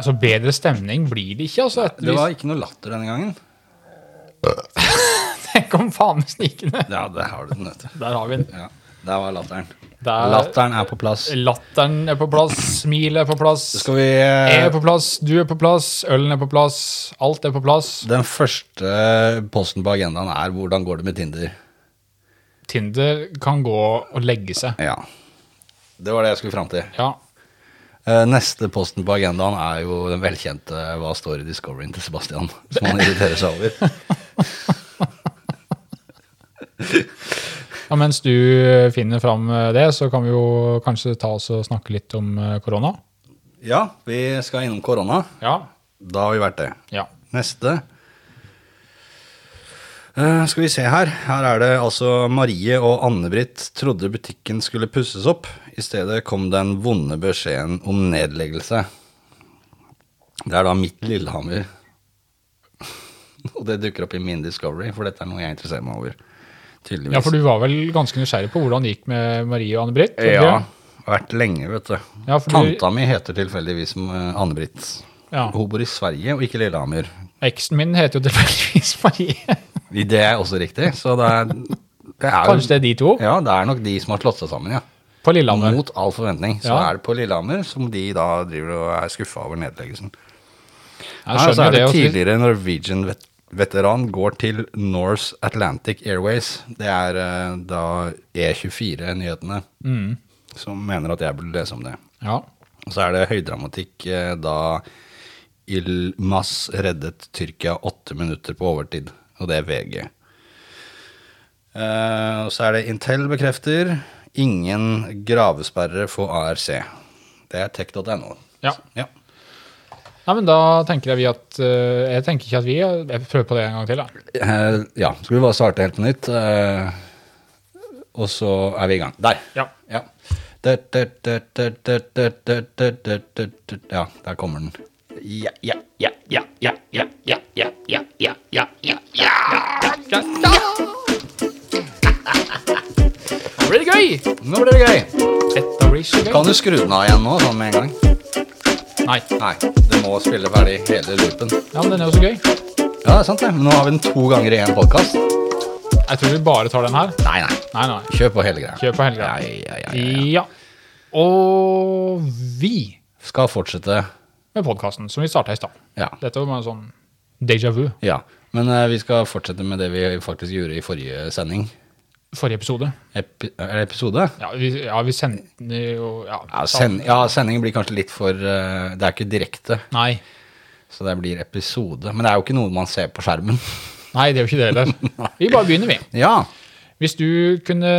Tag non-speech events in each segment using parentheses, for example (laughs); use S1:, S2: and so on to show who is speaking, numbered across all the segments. S1: Altså, bedre stemning blir det ikke. altså. Etter,
S2: Det var ikke noe latter denne gangen.
S1: Jeg kom faen meg snikende.
S2: Ja, der har du den, vet du.
S1: Der har vi den.
S2: Ja, der var latteren.
S1: Der,
S2: Latteren er på plass.
S1: Latteren er på plass, smilet er på plass,
S2: Så skal vi
S1: jeg er
S2: eh,
S1: på plass, du er på plass, ølen er på plass, alt er på plass.
S2: Den første posten på agendaen er 'Hvordan går det med Tinder'?
S1: Tinder kan gå og legge seg.
S2: Ja. Det var det jeg skulle fram til.
S1: Ja,
S2: Eh, Neste posten på agendaen er jo den velkjente 'Hva står i Discoveryen til Sebastian?' som han irriterer seg over. (laughs)
S1: Ja, mens du finner fram eh, det, så kan vi jo kanskje ta oss og snakke litt om eh, korona.
S2: Ja, vi skal innom korona.
S1: Ja.
S2: Da har vi vært det.
S1: ja.
S2: Neste. Eh, skal vi se her. Her er det altså Marie og Anne-Britt trodde butikken skulle pusses opp. I stedet kom den vonde beskjeden om nedleggelse. Det er da mitt Lillehammer. (laughs) Og det dukker opp i min Discovery, for dette er noe jeg interesserer meg over. Tydeligvis.
S1: ja, for du var vel ganske nysgjerrig på hvordan det gikk med Marie og Anne-Britt? var det
S2: Ja,
S1: ikke?
S2: vært lenge, vet du.
S1: Ja, for du-
S2: Tanta mi heter tilfeldigvis eh, Anne-Britt.
S1: ja.
S2: Hun bor i Sverige og ikke Lillehammer.
S1: Eksen min heter jo tilfeldigvis Marie.
S2: Det er også riktig, så det er, det er jo-
S1: Kanskje det er de to?
S2: Ja, det er nok de som har slått seg sammen, ja.
S1: På Lillehammer.
S2: Mot all forventning. Så
S1: Ja.
S2: er det på Lillehammer som de da driver og er skuffa over nedleggelsen.
S1: Jeg
S2: Her så er
S1: skjønner
S2: det
S1: det. også.
S2: tidligere Norwegian-veteran går til Norse Atlantic Airways. Det er eh, da E24-nyhetene
S1: Mm.
S2: som mener at jeg burde lese om det.
S1: Ja.
S2: Og så er det høydramatikk eh, da Yilmaz reddet Tyrkia åtte minutter på overtid, og det er VG. Eh, og så er det Intel bekrefter ingen gravesperre for ARC. Det er tech.no.
S1: ja.
S2: Ja.
S1: Nei, men da tenker jeg vi at eh, Jeg tenker ikke at vi Jeg prøver på det en gang til, da.
S2: Eh, ja, skal vi bare starte helt på nytt? eh, og så er vi i gang. Der.
S1: Ja.
S2: Ja. Ja, der kommer den. Ja, ja, ja, ja, ja, ja, ja, ja, ja, ja, ja, ja, ja.
S1: Nå blir det gøy!
S2: Nå blir det gøy.
S1: Dette blir så gøy.
S2: Kan du skru den av igjen nå, sånn med en gang?
S1: Nei.
S2: Nei, du må spille ferdig hele loopen.
S1: Ja, men den er jo så gøy.
S2: Ja, det er sant det. Men nå har vi den to ganger i én podkast.
S1: Jeg tror vi bare tar den her.
S2: Nei, nei.
S1: Nei, nei.
S2: Kjør på hele greia.
S1: Kjør på hele greia.
S2: Ja, ja, ja, ja.
S1: Ja. Og vi
S2: Skal fortsette.
S1: med podkasten, som vi starta i stad.
S2: Ja.
S1: Dette var bare en sånn déjà vu.
S2: Ja, men eh, vi skal fortsette med det vi faktisk gjorde i forrige sending.
S1: Forrige episode.
S2: Epi er det episode?
S1: Ja, vi, ja, vi sendte jo ja,
S2: Ja, send ja, sendingen blir kanskje litt for eh, Det er ikke direkte,
S1: Nei.
S2: så det blir episode. Men det er jo ikke noe man ser på skjermen. (laughs)
S1: Nei, det er jo ikke det heller. Vi bare begynner, vi.
S2: Ja,
S1: Hvis du kunne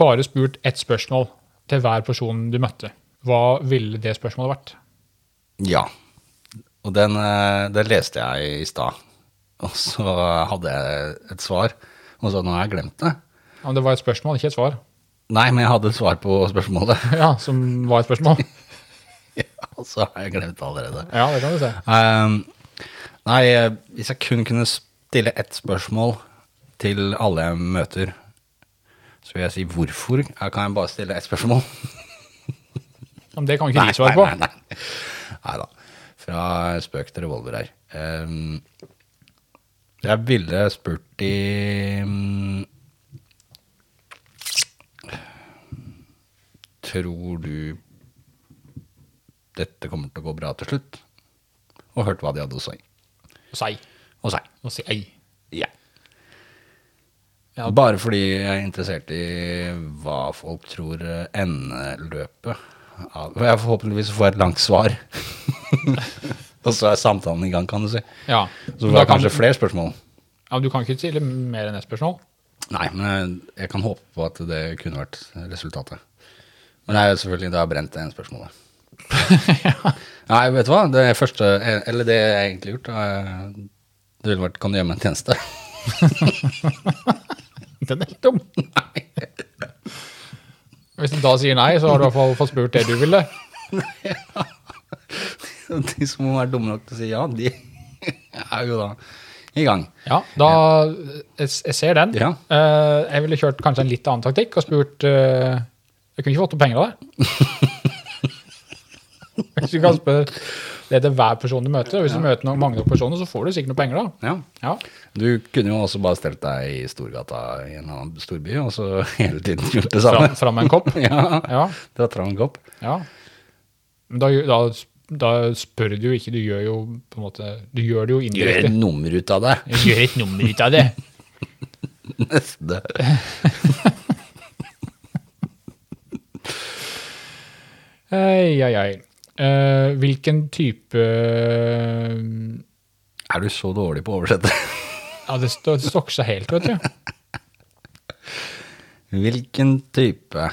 S1: bare spurt ett spørsmål til hver person du møtte, hva ville det spørsmålet vært?
S2: Ja. Og den, eh, den leste jeg i stad. Og så hadde jeg et svar. Og så nå har jeg glemt det.
S1: Ja, men det var et spørsmål, ikke et svar. (laughs)
S2: Nei, men jeg hadde et svar på spørsmålet. (laughs)
S1: Ja, som var et spørsmål.
S2: Og så har jeg glemt det allerede.
S1: Ja, det kan du se.
S2: Ehm, nei, eh, hvis jeg kun kunne stille ett spørsmål til alle jeg møter, så vil jeg si hvorfor? Eh, Kan jeg bare stille ett spørsmål?
S1: Ja, Men det kan jo ikke de svare på.
S2: nei, nei. Nei da. Fra spøk til revolver her. Ehm, jeg ville spurt de mm, Tror du dette kommer til å gå bra til slutt? Og hørt hva de hadde å si.
S1: Å si.
S2: Å si.
S1: Å si ei.
S2: Ja.
S1: Ja.
S2: Bare fordi jeg er interessert i hva folk tror eh, endeløpet av og Jeg forhåpentligvis får et langt svar. (laughs) og så er samtalen i gang, kan du si.
S1: Ja.
S2: Så
S1: Men
S2: får
S1: da
S2: jeg
S1: kan,
S2: kanskje flere spørsmål.
S1: ja, du kan ikke stille mer enn ett spørsmål.
S2: Nei, men jeg- jeg kan håpe på at det kunne vært resultatet. Men det er jo selvfølgelig da brent det ene
S1: (laughs)
S2: spørsmålet. Nei, vet du hva? Det første, eller det jeg egentlig har gjort, eh, det ville vært Kan du gjøre meg en tjeneste? (laughs)
S1: Den er helt dum. Hvis du da sier nei, så har du i hvert fall fått spurt det du ville.
S2: (laughs) De som må være dumme nok til å si ja, de (laughs) er jo da i gang.
S1: Ja, da Jeg, jeg ser den.
S2: Ja.
S1: Eh, jeg ville kjørt kanskje en litt annen taktikk og spurt eh, (laughs) Jeg kunne ikke fått noe penger av deg. Hvis du kan spørre det til hver person du møter. Og hvis du møter noen, mange nok personer, så får du sikkert noen penger, da.
S2: Ja.
S1: Ja.
S2: Du kunne jo også bare stelt deg i Storgata i en annen storby, og så hele tiden gjort det samme.
S1: Fram- Fram med en kopp.
S2: (laughs) Ja,
S1: Ja.
S2: Dratt fram en kopp.
S1: ja. Men da, da, da spør du jo ikke, du gjør jo på en måte Du gjør det jo
S2: Gjør
S1: indirekte.
S2: et nummer ut av det.
S1: Jeg Gjør et nummer ut av det.
S2: (laughs) Neste.
S1: Ei, ei, ei. Eh, hvilken type Ja,
S2: Er du så dårlig på å oversette?
S1: det stå- det stokker seg helt, vet du.
S2: Hvilken type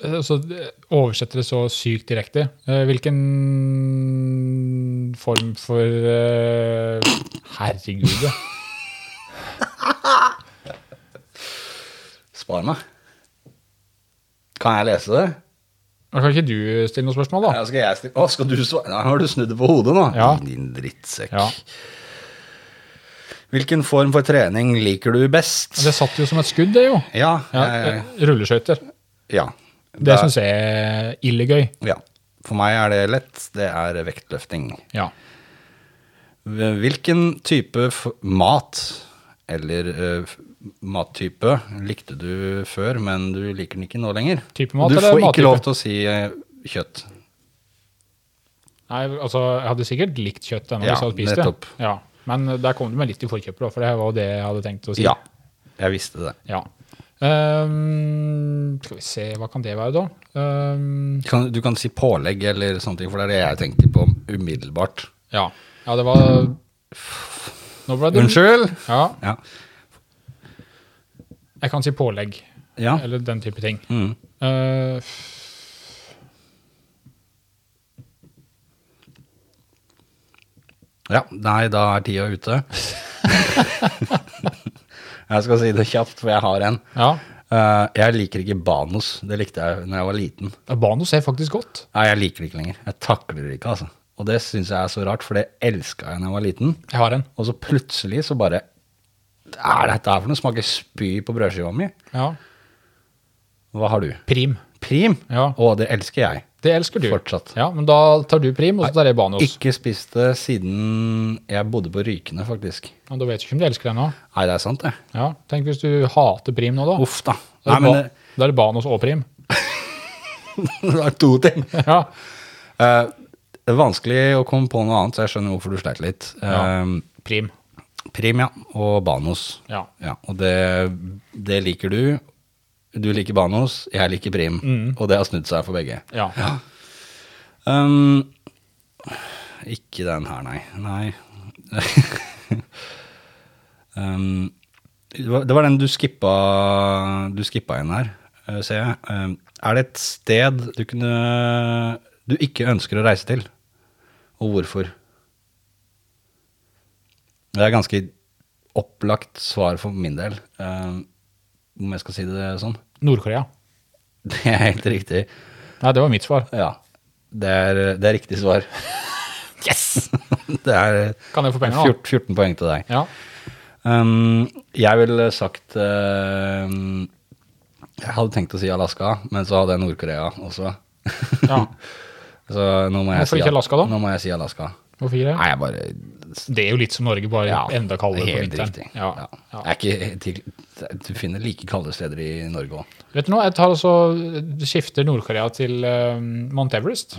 S1: Eh, Så det- oversetter det så sykt direkte. Eh, hvilken form for eh, Herregud, ja.
S2: Spar meg. Kan jeg lese det?
S1: Kan ikke du stille noen spørsmål, da?
S2: Ja, skal jeg stille Å, skal du svare? Nå har du snudd det på hodet nå.
S1: Ja.
S2: Din drittsekk.
S1: Ja.
S2: Hvilken form for trening liker du best?
S1: Det satt jo som et skudd, det, jo.
S2: Ja.
S1: Ja,
S2: jeg-
S1: eh, Rulleskøyter.
S2: ja.
S1: Det syns jeg er illegøy.
S2: Ja. For meg er det lett. Det er vektløfting.
S1: Ja.
S2: Hvilken type f mat eller eh, f- mattype likte du før, men du liker den ikke nå lenger?
S1: Type mat
S2: Og du
S1: eller
S2: får
S1: mattype?
S2: ikke lov til å si eh, kjøtt.
S1: Nei, altså, jeg hadde sikkert likt kjøtt ennå
S2: Ja,
S1: hvis jeg hadde spist
S2: nettopp.
S1: det. Ja, Men eh, der kom du meg litt i forkjøpet, da, for det var jo det jeg hadde tenkt å si.
S2: Ja, jeg visste det.
S1: Ja. Ehm, skal vi se, hva kan det være, da? Ehm,
S2: Du kan, du kan si pålegg eller sånne ting, for det er det jeg tenkte på umiddelbart.
S1: ja. ja, det var Nå ble det
S2: Unnskyld?
S1: Ja,
S2: Ja.
S1: jeg kan si pålegg.
S2: ja.
S1: Eller den type ting.
S2: Mm.
S1: Eh,
S2: ja. Nei, da er tida
S1: (laughs)
S2: ute. jeg skal si det kjapt, for jeg har en.
S1: ja.
S2: Eh, jeg liker ikke Banos. Det likte jeg da jeg var liten.
S1: Banos er faktisk godt.
S2: Nei, jeg liker det ikke lenger. Jeg takler det ikke, altså. Og det syns jeg er så rart, for det elska jeg da jeg var liten.
S1: Jeg har en.
S2: Og så plutselig så bare Hva er dette her for noe? Smaker spy på brødskiva mi.
S1: Ja.
S2: Hva har du?
S1: Prim.
S2: Prim?
S1: Ja.
S2: Å, det elsker jeg.
S1: Det elsker du.
S2: Fortsatt.
S1: Ja, Men da tar du prim, og så tar jeg Banos.
S2: Ikke spist det siden jeg bodde på Rykene, faktisk.
S1: Ja, da vet du ikke om du elsker den nå.
S2: Nei, det er sant, det.
S1: Ja, Tenk hvis du hater prim nå, da.
S2: Uff, da. Nei,
S1: Da er, det
S2: men eh, det,
S1: ba, da er det Banos og prim.
S2: (laughs)
S1: (laughs)
S2: det er to ting.
S1: ja.
S2: Eh, det er vanskelig å komme på noe annet, så jeg skjønner hvorfor du sleit litt.
S1: Ja.
S2: Eh,
S1: Prim.
S2: Prim, ja. Og Banos.
S1: Ja.
S2: Ja, og det, det liker du. Du liker Banos, jeg liker Prim.
S1: Mm.
S2: Og det har snudd seg for begge.
S1: Ja.
S2: Um, ikke den her, nei. Nei. (laughs) um, det var det var den du skippa, du skippa inn her, eh, ser jeg. Um, er det et sted du kunne Du ikke ønsker å reise til? Og hvorfor? Det er ganske opplagt svar for min del, um, om jeg skal si det sånn. (laughs)
S1: Nord-Korea.
S2: Det er helt riktig.
S1: Nei, det var mitt svar.
S2: Ja. Det er, det er riktig
S1: (laughs)
S2: svar. Yes! (laughs) det er
S1: Kan jeg få penger, da?
S2: 14, 14 poeng til deg.
S1: Ja.
S2: Um, jeg ville sagt um, Jeg hadde tenkt å si Alaska, men så hadde jeg Nord-Korea også.
S1: ja.
S2: (laughs) Så nå må jeg
S1: Hvorfor
S2: si
S1: ikke Alaska, da?
S2: Nå må jeg si Alaska.
S1: Hvorfor ikke det?
S2: Nei, jeg bare
S1: Det er jo litt som Norge, bare enda kaldere på
S2: helt
S1: vinteren.
S2: riktig.
S1: Ja.
S2: Ja.
S1: Ja.
S2: Jeg Er ikke til, du finner like kalde steder i Norge òg.
S1: Vet du noe, jeg tar også, eh, skifter Nord-Korea til eh, Mount Everest.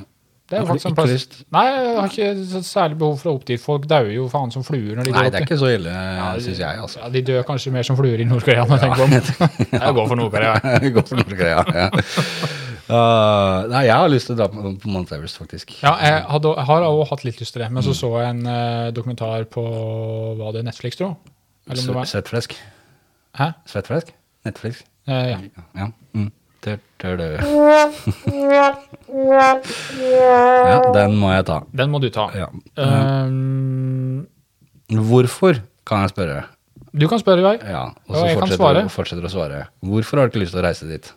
S1: Det er
S2: Har du
S1: faktisk en
S2: ikke
S1: plass.
S2: lyst?
S1: Nei, jeg har ikke så særlig behov for å opp dit. Folk dauer jo faen som fluer når
S2: Nei,
S1: de går
S2: det er
S1: opp dit.
S2: ikke så ille, syns jeg, altså.
S1: Ja, de dør kanskje mer som fluer i Nord-Korea når jeg tenker på (laughs) dem. Jeg går
S2: (laughs)
S1: for Nord-Korea. jeg.
S2: Vi går for Nord-Korea.
S1: (laughs)
S2: Ja. Uh, nei, jeg har lyst til å dra på, på Mount Everest, faktisk.
S1: Ja, jeg, hadde, jeg har også hatt litt lyst til det, men så
S2: Mm.
S1: så jeg en eh, dokumentar på hva det er, Netflix, tro? Eller om det var
S2: Svettflesk.
S1: Hæ?
S2: Svettflesk? Netflix?
S1: Eh, ja.
S2: Ja. ja. Mm. Tør, tør, tør. ja, den må jeg ta.
S1: Den må du ta.
S2: Ja.
S1: Ehm,
S2: Hvorfor, kan jeg spørre.
S1: du kan spørre, Vei.
S2: Ja, og
S1: Ja,
S2: så
S1: jeg kan
S2: fortsetter,
S1: svare.
S2: du- fortsetter du å svare. Hvorfor har du ikke lyst til å reise dit?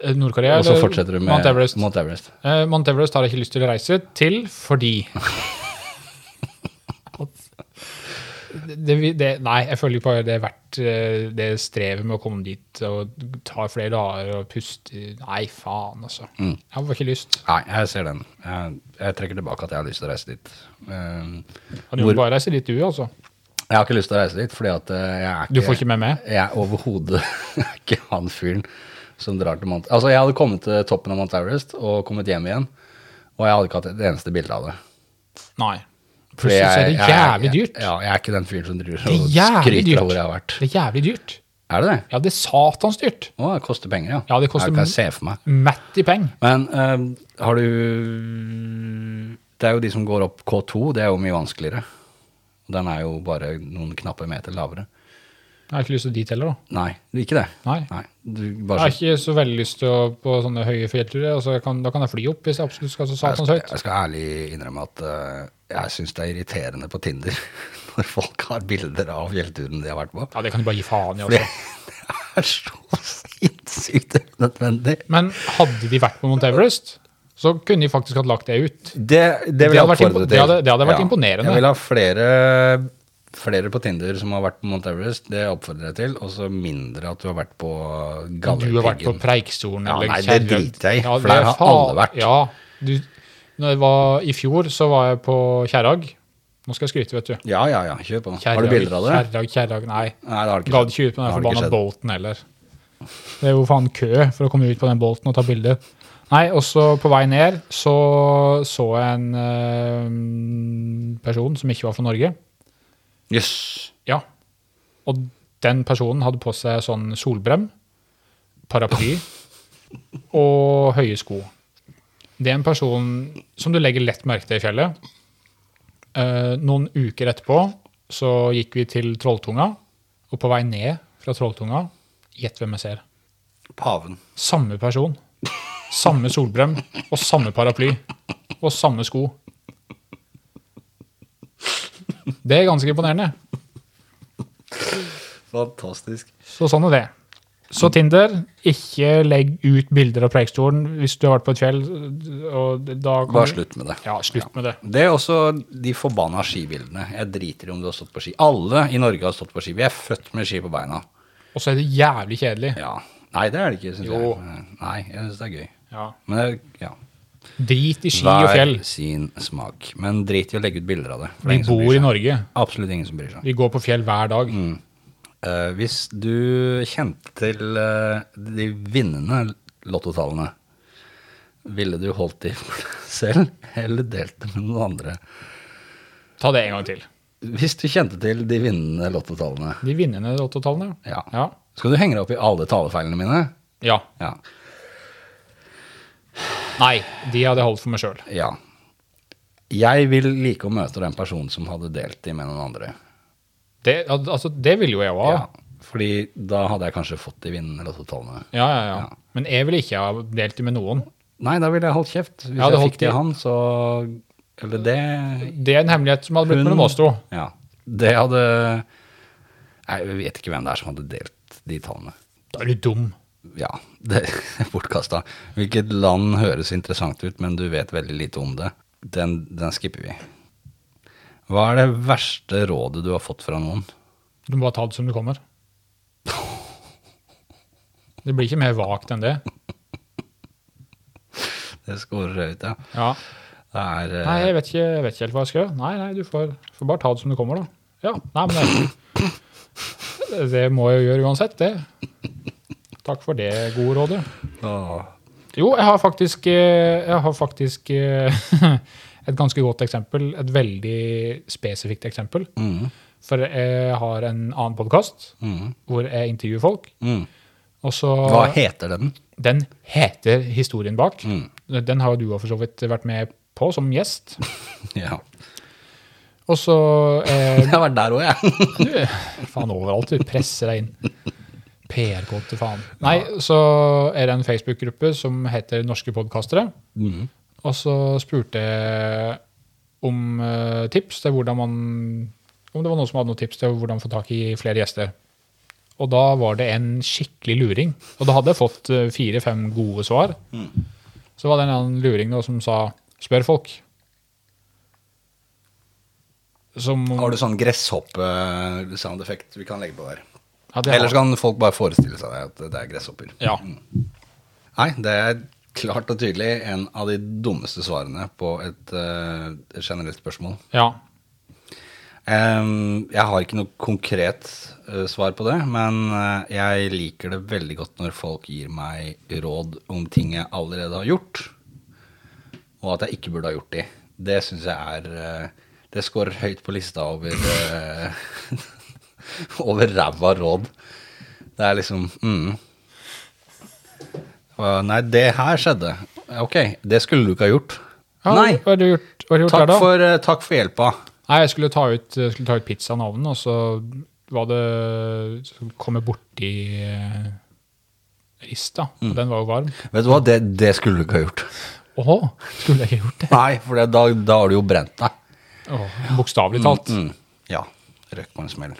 S1: Eh, Nord-Korea
S2: Og så
S1: eller
S2: fortsetter du med
S1: Mount Everest?
S2: Mount Everest.
S1: Eh, Mount Everest har jeg ikke
S2: (laughs)
S1: lyst til å reise til fordi det, det, nei, jeg føler ikke på det er verdt eh, det strevet med å komme dit og ta flere dager og puste Nei, faen, altså.
S2: Mm.
S1: Jeg har bare ikke lyst.
S2: Nei, jeg ser den. Jeg, jeg trekker tilbake at jeg har lyst til å reise dit. Eh,
S1: Du må bare reise dit, du, altså.
S2: Jeg har ikke lyst til å reise dit, fordi at eh, jeg er ikke
S1: Du får ikke med meg?
S2: Jeg er overhodet (laughs) ikke han fyren som drar til Mount Altså, jeg hadde kommet til toppen av Mount Everest og kommet hjem igjen, og jeg hadde ikke hatt et eneste bilde av det.
S1: Nei.
S2: Fordi
S1: Plutselig så er det
S2: jeg- jeg-
S1: jævlig dyrt.
S2: Ja, jeg er ikke den fyren som driver
S1: Det er
S2: og
S1: jævlig
S2: skryter
S1: dyrt.
S2: av hvor jeg har vært.
S1: Det er jævlig dyrt.
S2: Er det det?
S1: Ja, det er satans dyrt.
S2: Å, det koster penger, ja.
S1: Ja, det koster
S2: Jeg kan se for meg.
S1: Mett i penger.
S2: Men eh, har du Det er jo de som går opp K2, det er jo mye vanskeligere. Den er jo bare noen knappe meter lavere.
S1: Jeg har ikke lyst til dit heller, da.
S2: Nei, ikke det.
S1: Nei.
S2: Nei, du
S1: Jeg har
S2: bare så,
S1: ikke så veldig lyst til å på sånne høye fjellturer. og så kan, da kan jeg fly opp hvis jeg absolutt skal så satans høyt.
S2: jeg skal ærlig innrømme at eh, jeg syns det er irriterende på Tinder (laughs) når folk har bilder av fjellturen de har vært på.
S1: Ja, det kan du bare gi faen i.
S2: Fordi
S1: Også.
S2: det er så sinnssykt unødvendig.
S1: Men hadde de vært på Mount Everest, så kunne de faktisk hatt lagt det ut.
S2: Det, det
S1: Det
S2: vil jeg
S1: hadde vært
S2: oppfordre
S1: impo-
S2: til.
S1: det hadde- det hadde vært imponerende.
S2: Jeg vil ha flere, flere på Tinder som har vært på Mount Everest, det oppfordrer jeg til. Og så mindre at du har vært på
S1: Du har vært på
S2: Galdhøpiggen.
S1: Preikstolen
S2: Ja,
S1: eller
S2: nei, det
S1: Kjerre.
S2: driter jeg i, for
S1: det
S2: der
S1: er
S2: har
S1: faen-
S2: alle vært.
S1: Ja, du, når jeg var, I fjor så var jeg på Kjerrag. Nå skal jeg skryte, vet du.
S2: Ja, ja, ja, kjør på.
S1: Kjerrag,
S2: har du bilder av det?
S1: Kjerrag, Kjerrag, nei.
S2: Nei, det har du ikke.
S1: Gadd ikke ut på
S2: Det
S1: den
S2: har det ikke
S1: forbanna
S2: skjedd.
S1: bolten heller. Det er jo faen kø for å komme ut på den bolten og ta bilde. Nei, og så på vei ned så så jeg en eh, person som ikke var fra Norge.
S2: Jøss.
S1: Ja. Og den personen hadde på seg sånn solbrem, paraply og høye sko. Det er en person som du legger lett merke til i fjellet. Eh, noen uker etterpå så gikk vi til Trolltunga, og på vei ned fra Trolltunga Gjett hvem jeg ser.
S2: Paven.
S1: Samme person. Samme solbrem og samme paraply. Og samme sko. Det er ganske imponerende.
S2: Fantastisk.
S1: Så sånn er det. Så Tinder, ikke legg ut bilder av Preikestolen hvis du har vært på et fjell. Og da kan
S2: Bare
S1: du-
S2: slutt med det.
S1: Ja, slutt med det.
S2: Det er også de forbanna skibildene. Jeg driter i om du har stått på ski. Alle i Norge har stått på ski. Vi er født med ski på beina.
S1: Og så er det jævlig kjedelig.
S2: Ja. Nei, det er det ikke, syns
S1: Jo.
S2: jeg. Nei, jeg syns det er gøy.
S1: Ja.
S2: Men det, ja.
S1: Drit i ski og fjell.
S2: sin smak. Men drit i å legge ut bilder av det. for det Mm. er
S1: Vi
S2: ingen som bryr
S1: bor i
S2: seg.
S1: Norge.
S2: Absolutt ingen som bryr seg.
S1: Vi går på fjell hver dag.
S2: Eh, hvis du kjente til eh, de vinnende lottotallene, ville du holdt de for deg (laughs) selv, eller delt dem med noen andre?
S1: Ta det en gang til.
S2: Hvis du kjente til de vinnende lottotallene,
S1: De vinnende lottotallene.
S2: ja.
S1: Ja.
S2: Skal du henge deg opp i alle talefeilene mine?
S1: ja.
S2: Ja.
S1: Nei, de hadde jeg holdt for meg sjøl.
S2: ja. Jeg vil like å møte den personen som hadde delt de med noen andre.
S1: Det, al- altså, det ville jo jeg òg.
S2: Ja. Fordi da hadde jeg kanskje fått de vinnende lottotallene.
S1: Ja, ja, ja. Men jeg ville ikke ha delt det med noen.
S2: Nei, da ville jeg holdt kjeft. Hvis
S1: Jeg hadde
S2: jeg
S1: holdt
S2: fikk de
S1: de-
S2: av han, så Eller det
S1: Det er en hemmelighet som hadde blitt mellom oss to.
S2: Ja. Det hadde Nei, Jeg vet ikke hvem det er som hadde delt de tallene.
S1: Da er du dum.
S2: Ja, (laughs) det er bortkasta. Hvilket land høres interessant ut, men du vet veldig lite om det. Den, den skipper vi. Hva er det verste rådet du har fått fra noen?
S1: Du må bare ta det som det kommer. Det blir ikke mer vagt enn det.
S2: Det skårer jeg ut, ja.
S1: Ja.
S2: Det er eh,
S1: Nei, jeg vet, ikke, jeg vet ikke helt hva jeg skal gjøre. Nei, nei, du får, får bare ta det som det kommer, da. Ja, nei, men det, det må jeg jo gjøre uansett, det. Takk for det gode rådet.
S2: å,
S1: Jo, jeg har faktisk, eh, jeg har faktisk eh, (laughs) et ganske godt eksempel. Et veldig spesifikt eksempel.
S2: mm,
S1: For jeg har en annen podkast
S2: mm,
S1: hvor jeg intervjuer folk.
S2: mm.
S1: Og så
S2: Hva heter den? (laughs)
S1: Den heter Historien bak.
S2: Mm.
S1: Den har jo du også for så vidt vært med på som gjest.
S2: Ja.
S1: Og så eh,
S2: Jeg har vært der òg,
S1: (laughs)
S2: jeg.
S1: du, Faen, overalt du presser deg inn. PR-kode til faen. Nei, så er det en Facebook-gruppe som heter Norske podkastere.
S2: Mm.
S1: Og så spurte jeg om eh, tips til hvordan man Om det var noen som hadde noen tips til hvordan få tak i flere gjester. Og da var det en skikkelig luring. Og da hadde jeg fått eh, fire-fem gode svar.
S2: Mm.
S1: Så var det en annen luring da, som sa 'spør folk'. Som,
S2: Har du sånn gresshoppe-soundeffekt vi kan legge på der?
S1: ja, det har-
S2: Ellers Mm. kan folk bare forestille seg at det er gresshopper.
S1: ja.
S2: Nei, det er klart og tydelig en av de dummeste svarene på et eh, generelt spørsmål.
S1: ja.
S2: Em, jeg har ikke noe konkret eh, svar på det, men eh, jeg liker det veldig godt når folk gir meg råd om ting jeg allerede har gjort, og at jeg ikke burde ha gjort de. Det syns jeg er eh, Det scorer høyt på lista over eh, (laughs) Over ræva råd. Det er liksom mm. Eh, Nei, det her skjedde. Ok, det skulle du ikke ha gjort.
S1: ja
S2: Nei.
S1: Hva har du gjort, hva har du gjort
S2: Takk
S1: der, da?
S2: for, eh, takk for hjelpa.
S1: Nei, jeg skulle ta ut, jeg skulle ta ut pizzaen av ovnen, og så var det så kom jeg borti eh, rista,
S2: Mm.
S1: og den var jo varm.
S2: Vet du hva, det, det skulle du ikke ha gjort.
S1: Åhå, skulle jeg ikke gjort det?
S2: Nei, for det, da, da har du jo brent deg.
S1: Åh, Bokstavelig talt.
S2: Mm. Ja. Røk på en smell.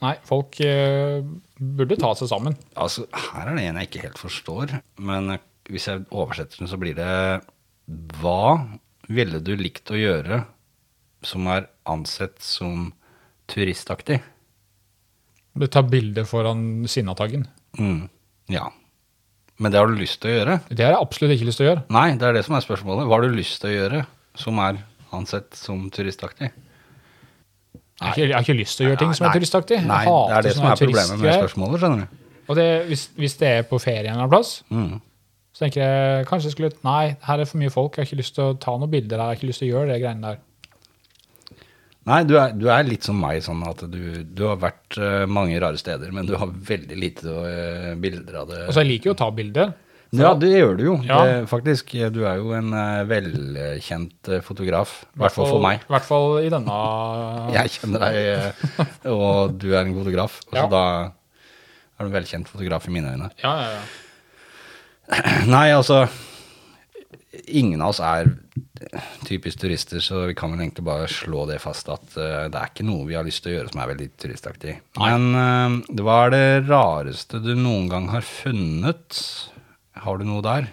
S1: Nei, folk eh, burde ta seg sammen.
S2: Altså, her er det en jeg ikke helt forstår, men hvis jeg oversetter den, så blir det Hva ville du likt å gjøre som er ansett som turistaktig?
S1: Burde ta bilde foran Sinnataggen.
S2: Mm. Ja. Men det har du lyst til å gjøre?
S1: Det har jeg absolutt ikke lyst til å gjøre.
S2: Nei, det er det som er spørsmålet. Hva har du lyst til å gjøre som er ansett som turistaktig?
S1: Jeg har ikke, jeg har ikke lyst til å gjøre ting som
S2: Nei,
S1: er turistaktig. Jeg
S2: Nei, det
S1: hater
S2: er det som
S1: sånne
S2: er problemet med
S1: turistgreier.
S2: spørsmålet, skjønner du.
S1: Og det, hvis, hvis det er på ferie en eller annen plass,
S2: Mm.
S1: så tenker jeg kanskje jeg skulle Nei, her er for mye folk. Jeg har ikke lyst til å ta noen bilder her. Jeg har ikke lyst til å gjøre det greiene der.
S2: Nei, du er, du er litt som meg, sånn at du, du har vært eh, mange rare steder, men du har veldig lite eh, bilder av det.
S1: Altså, jeg liker jo å ta bilder.
S2: ja, det gjør du jo,
S1: Ja.
S2: det, faktisk. Du er jo en eh, velkjent eh, fotograf, i hvert fall for meg.
S1: I hvert fall i denne
S2: (laughs) Jeg kjenner deg, eh,
S1: (laughs)
S2: og du er en fotograf, og så
S1: Ja.
S2: da er du en velkjent fotograf i mine øyne.
S1: Ja, ja, ja.
S2: Nei, altså, ingen av oss er typisk turister, så vi kan vel egentlig bare slå det fast at eh, det er ikke noe vi har lyst til å gjøre som er veldig turistaktig. Men eh, hva er det rareste du noen gang har funnet? Har du noe der?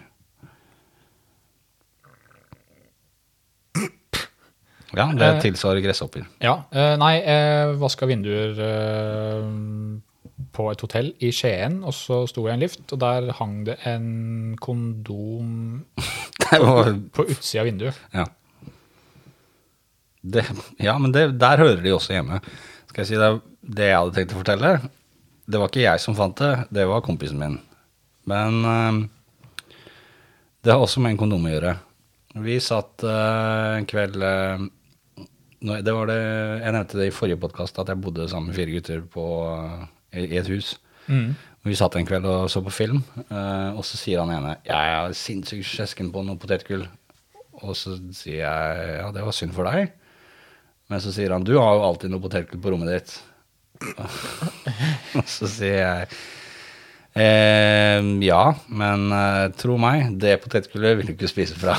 S2: Ja, det
S1: Eh.
S2: tilsvarer gresshopper.
S1: ja. eh, nei, jeg vaska vinduer eh, på et hotell i Skien, og så sto jeg i en lift, og der hang det en kondom
S2: Det var,
S1: på utsida av vinduet.
S2: ja. Det, ja, men det, der hører de også hjemme. Skal jeg si deg det jeg hadde tenkt å fortelle? Det var ikke jeg som fant det, det var kompisen min. Men eh, det har også med en kondom å gjøre. Vi satt eh, en kveld eh, nå- det var det, Jeg nevnte det i forrige podkast at jeg bodde sammen med fire gutter på, eh, i, i et hus. Og Vi satt en kveld og så på film, eh, og så sier han ene 'Jeg er sinnssykt skjesken på noe potetgull'. Og så sier jeg 'Ja, det var synd for deg'. Men så sier han 'Du har jo alltid noe potetgull på rommet ditt'. og så sier jeg «Ehm, Ja, men eh, tro meg, det potetgullet vil du ikke spise fra.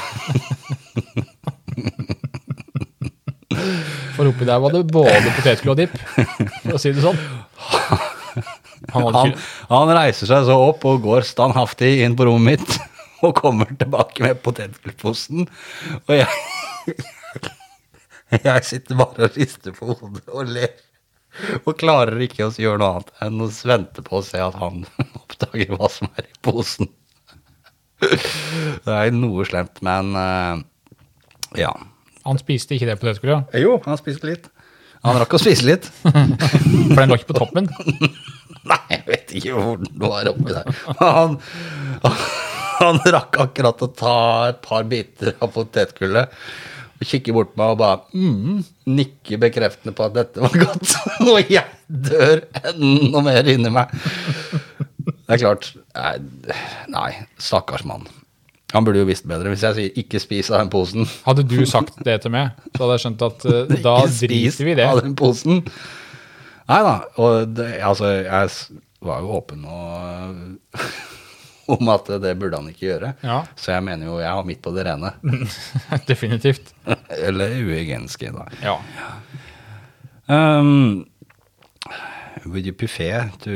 S1: For oppi der var det både potetgull og dipp, for å si det
S2: (laughs)
S1: sånn. Han hadde
S2: Han,
S1: ikke,
S2: han reiser seg så opp og går standhaftig inn på rommet mitt (laughs) og kommer tilbake med potetgullposen. Og jeg, (laughs) jeg sitter bare og rister på hodet og ler. Og klarer ikke å gjøre noe annet enn å vente på å se at han (laughs) oppdager hva som er i posen. Det er noe slemt, men eh, ja.
S1: han spiste ikke det potetgullet,
S2: Jo, han spiste litt. Han rakk å spise litt.
S1: for den lå ikke på toppen.
S2: (laughs) Nei, jeg vet ikke hvor den var oppi der. Han, han rakk akkurat å ta et par biter av potetgullet og kikke bort på meg og bare mm, nikke bekreftende på at dette var godt. (laughs) Og jeg dør enda mer inni meg. Det er klart Nei, nei stakkars mann. Han burde jo visst bedre. Hvis jeg sier 'ikke spis av den posen',
S1: Hadde du sagt det til meg, så hadde jeg skjønt at eh, da
S2: ikke spis
S1: driter vi i det.
S2: av den posen. Nei da. Og det, altså, jeg s- var jo åpen og, (laughs) om at det burde han ikke gjøre.
S1: Ja.
S2: Så jeg mener jo jeg har midt på det rene. (laughs)
S1: (laughs) Definitivt.
S2: Eller uhygieniske, da.
S1: Ja.
S2: Um, would you prefer to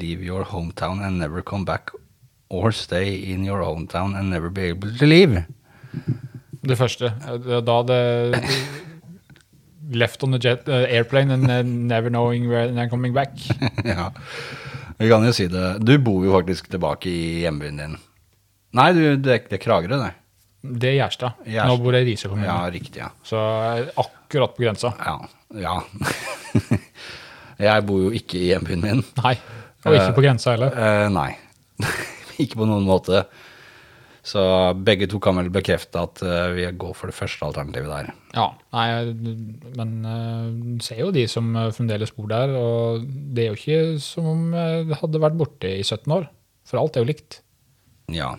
S2: leave your hometown and never come back, or stay in your hometown and never be able to leave?
S1: Det første. eh, Da det Left on the jet, eh, airplane and eh, never knowing where they're coming back.
S2: (laughs) ja. Vi kan jo si det. Du bor jo faktisk tilbake i hjembyen din. Nei, du, det, er- det er Kragerø, det.
S1: Det er Gjerstad.
S2: Gjerstad.
S1: Nå bor jeg i Risør kommune.
S2: Ja, riktig, ja.
S1: Så jeg er akkurat på grensa.
S2: Ja. ja. (laughs) jeg bor jo ikke i hjembyen min.
S1: Nei. Og ikke
S2: Eh,
S1: på grensa heller.
S2: Eh, nei. (laughs) ikke på noen måte. Så begge to kan vel bekrefte at eh, vi går for det første alternativet der.
S1: Ja, nei, men eh, du ser jo de som eh, fremdeles bor der, og det er jo ikke som om eh, det hadde vært borte i 17 år. For alt er jo likt.
S2: Ja.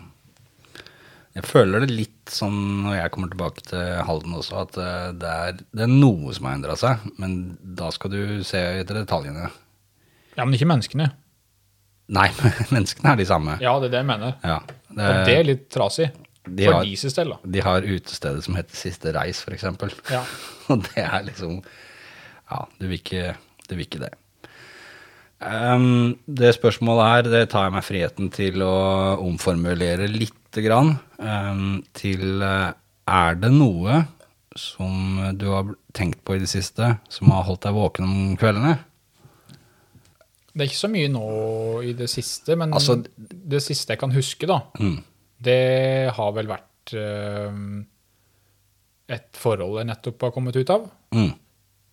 S2: Jeg føler det litt sånn når jeg kommer tilbake til Halden også, at eh, det er, det er noe som har endra seg, men da skal du se etter detaljene.
S1: Ja, men ikke menneskene.
S2: Nei, (laughs) menneskene er de samme.
S1: Ja, det er det jeg mener.
S2: Ja.
S1: Og det
S2: Det,
S1: er litt trasig.
S2: de,
S1: For
S2: har,
S1: deres del, da.
S2: de har utestedet som heter Siste reis, f.eks.
S1: Ja.
S2: (laughs) Og det er liksom Ja, du vil ikke, du vil ikke det. Ehm, det spørsmålet her det tar jeg meg friheten til å omformulere lite grann. ehm, til eh, Er det noe som du har tenkt på i det siste, som har holdt deg våken om kveldene?
S1: Det er ikke så mye nå i det siste, men
S2: Altså-
S1: det siste jeg kan huske, da,
S2: Mm.
S1: det har vel vært eh, et forhold jeg nettopp har kommet ut av,
S2: Mm.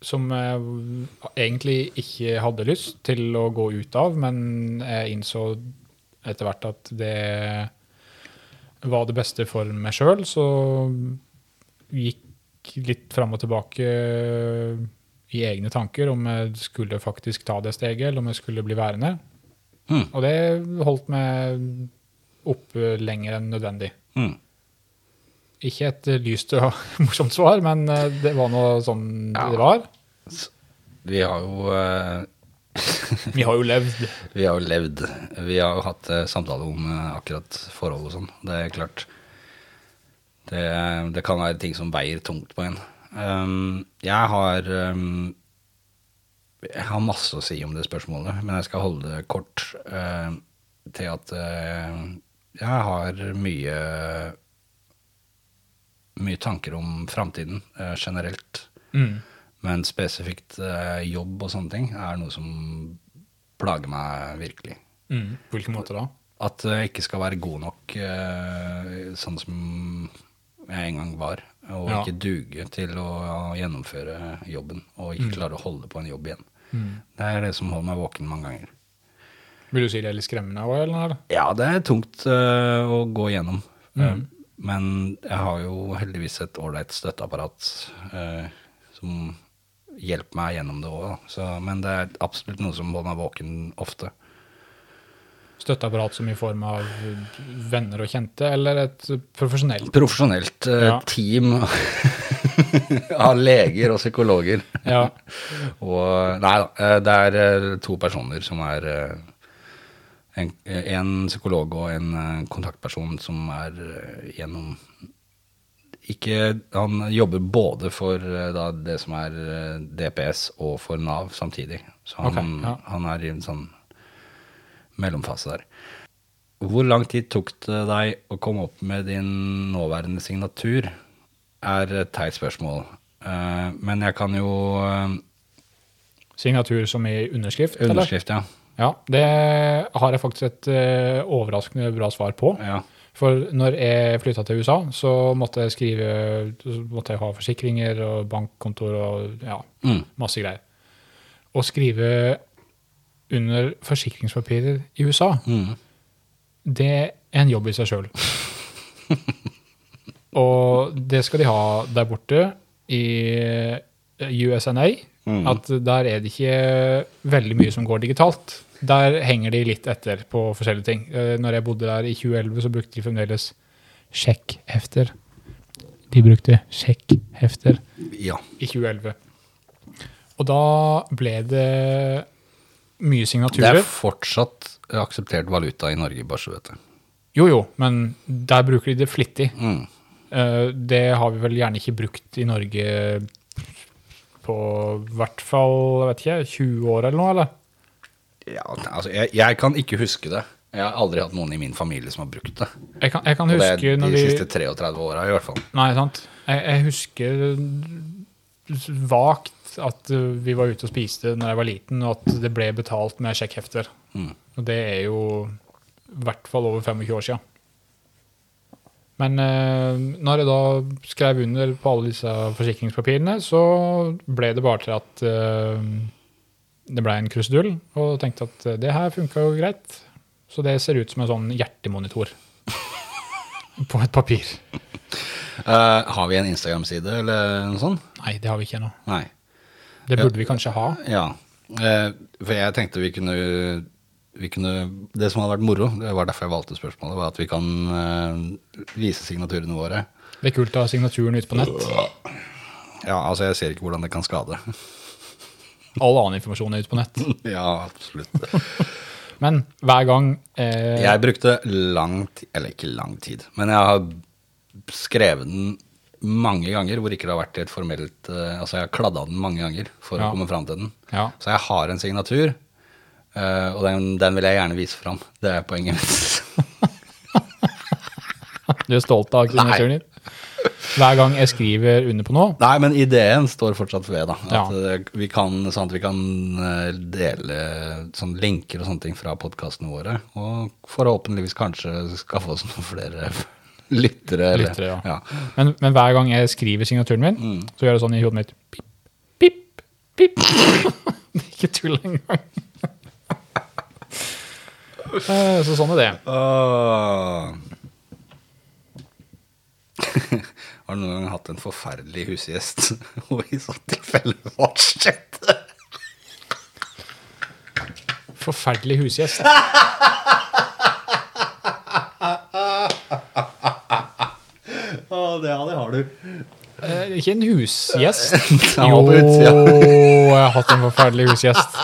S1: som jeg egentlig ikke hadde lyst til å gå ut av, men jeg innså etter hvert at det var det beste for meg sjøl, så gikk litt fram og tilbake i egne tanker om jeg skulle faktisk ta det steget, eller om jeg skulle bli værende.
S2: Mm.
S1: Og det holdt meg oppe lenger enn nødvendig.
S2: Mm.
S1: Ikke et lyst og (laughs) morsomt svar, men eh, det var nå sånn
S2: Ja.
S1: det var.
S2: Vi har jo eh,
S1: Vi har jo levd.
S2: Vi har jo levd. Vi har jo hatt eh, samtale om eh, akkurat forhold og sånn. Det er klart. Det, det kan være ting som veier tungt på en. Um, jeg har um, Jeg har masse å si om det spørsmålet, men jeg skal holde det kort eh, til at eh, jeg har mye mye tanker om framtiden eh, generelt.
S1: Mm.
S2: Men spesifikt eh, jobb og sånne ting er noe som plager meg virkelig.
S1: På hvilken måte da?
S2: At jeg ikke skal være god nok eh, sånn som jeg en gang var. Og
S1: Ja.
S2: ikke duge til å gjennomføre jobben. Og ikke klare å holde på en jobb igjen. Det er det som holder meg våken mange ganger.
S1: Vil du si det er litt skremmende også, eller?
S2: Ja, det er tungt eh, å gå gjennom. Eh, men jeg har jo heldigvis et ålreit støtteapparat eh, som hjelper meg gjennom det òg. Men det er absolutt noe som holder meg våken ofte.
S1: Støtteapparat som i form av eh, venner og kjente, eller et profesjonelt?
S2: Profesjonelt eh,
S1: Ja.
S2: team (laughs) av leger og psykologer.
S1: Ja.
S2: Og Nei da, eh, det er eh, to personer som er eh, en, en psykolog og en eh, kontaktperson som er eh, gjennom ikke, Han jobber både for eh, da, det som er eh, DPS og for Nav samtidig. Så han,
S1: Ok, ja.
S2: han er i en sånn mellomfase der. Hvor lang tid tok det deg å komme opp med din nåværende signatur, er et teit spørsmål. Eh, men jeg kan jo eh,
S1: Signatur som i underskrift, eller?
S2: Underskrift, ja.
S1: Ja, det har jeg faktisk et eh, overraskende bra svar på.
S2: ja.
S1: For når jeg flytta til USA, så måtte jeg skrive så måtte jeg ha forsikringer og bankkontor og ja,
S2: Mm.
S1: masse greier. Å skrive under forsikringspapirer i USA,
S2: Mm.
S1: det er en jobb i seg sjøl.
S2: (laughs)
S1: Og det skal de ha der borte i eh, USNA.
S2: Mm.
S1: At der er det ikke veldig mye som går digitalt. Der henger de litt etter på forskjellige ting. Eh, Når jeg bodde der i 2011, så brukte de fremdeles sjekkhefter. De brukte sjekkhefter
S2: ja.
S1: i 2011. Og da ble det mye
S2: Det er
S1: signaturer.
S2: fortsatt akseptert valuta i Norge, bare så du vet det.
S1: Jo, jo, men der bruker de det flittig.
S2: Mm.
S1: Eh, Det har vi vel gjerne ikke brukt i Norge på i hvert fall jeg vet ikke, 20 år eller noe, eller?
S2: Ja, altså, jeg, jeg kan ikke huske det. Jeg har aldri hatt noen i min familie som har brukt det.
S1: Jeg kan, jeg kan
S2: Og det
S1: huske
S2: er
S1: når
S2: de
S1: vi
S2: siste 33 åra, i hvert fall.
S1: Nei, sant. Jeg, jeg husker vagt at uh, vi var ute og spiste når jeg var liten, og at det ble betalt med sjekkhefter.
S2: Mm.
S1: Og det er jo i hvert fall over 25 år siden. Men eh, når jeg da skrev under på alle disse forsikringspapirene, så ble det bare til at eh, det ble en krusedull, og tenkte at eh, det her funka jo greit. Så det ser ut som en sånn hjertemonitor (laughs) på et papir.
S2: Eh, har vi en Instagram-side eller noe sånt?
S1: Nei, det har vi ikke ennå.
S2: Nei.
S1: Det burde vi kanskje ha.
S2: Ja. Eh, for jeg tenkte vi kunne, vi kunne Det som hadde vært moro, det var derfor jeg valgte spørsmålet, var at vi kan eh, vise signaturene våre.
S1: Det er kult å ha signaturen ute på nett.
S2: Ja, altså, jeg ser ikke hvordan det kan skade.
S1: All annen informasjon er ute på nett.
S2: ja, absolutt.
S1: Men hver gang eh,
S2: (laughs) Jeg brukte lang tid Eller ikke lang tid, men jeg har skrevet den mange ganger hvor ikke det har vært i et formelt eh, Altså, jeg har kladda den mange ganger for
S1: Ja.
S2: å komme fram til den.
S1: ja,
S2: Så jeg har en signatur, eh, og den, den vil jeg gjerne vise fram. Det er poenget mitt. (laughs)
S1: Du er stolt av signaturen din? Hver gang jeg skriver under på noe,
S2: Nei, men ideen står fortsatt ved, da. At
S1: Ja.
S2: eh, vi kan, sånn at vi kan eh, dele sånn linker og sånne ting fra podkastene våre. Og forhåpentligvis kanskje skaffe oss noen flere (laughs) lyttere. eller-
S1: Lyttere, ja.
S2: ja. Mm.
S1: Men, men hver gang jeg skriver signaturen min, så gjør det sånn i hodet mitt. Pip, pip, pip. (laughs) det er ikke tull engang. Eh, så sånn er det.
S2: Åh. (laughs) Har du noen gang hatt en forferdelig husgjest, (laughs) og i sånt tilfelle hva skjedde?
S1: Forferdelig husgjest.
S2: Å, det, ja, det har du.
S1: Eh, ikke en
S2: (laughs)
S1: husgjest.
S2: Ja,
S1: Jo,
S2: på utsida.
S1: jeg har hatt en forferdelig husgjest.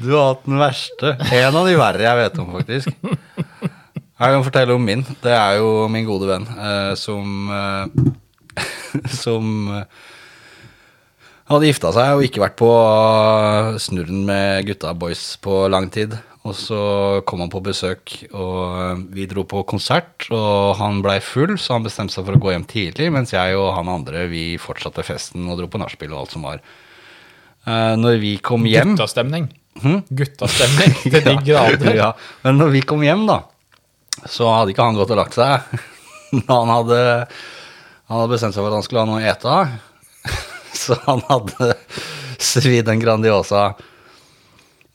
S2: Du har hatt den verste. En av de verre jeg vet om, faktisk. Jeg kan fortelle om min. Det er jo min gode venn eh, som eh, (laughs) Som eh, hadde gifta seg og ikke vært på eh, snurren med gutta boys på lang tid. Og så kom han på besøk, og eh, vi dro på konsert. Og han blei full, så han bestemte seg for å gå hjem tidlig, mens jeg og han andre vi fortsatte festen og dro på nachspiel og alt som var. Eh, Når vi kom hjem Hm?
S1: Guttastemning. Guttastemning (laughs) til de grader.
S2: (laughs) ja. Men når vi kom hjem, da, så hadde ikke han gått og lagt seg. (laughs) Han hadde, han hadde bestemt seg for at han skulle ha noe å ete (laughs) av. Så han hadde svidd en Grandiosa.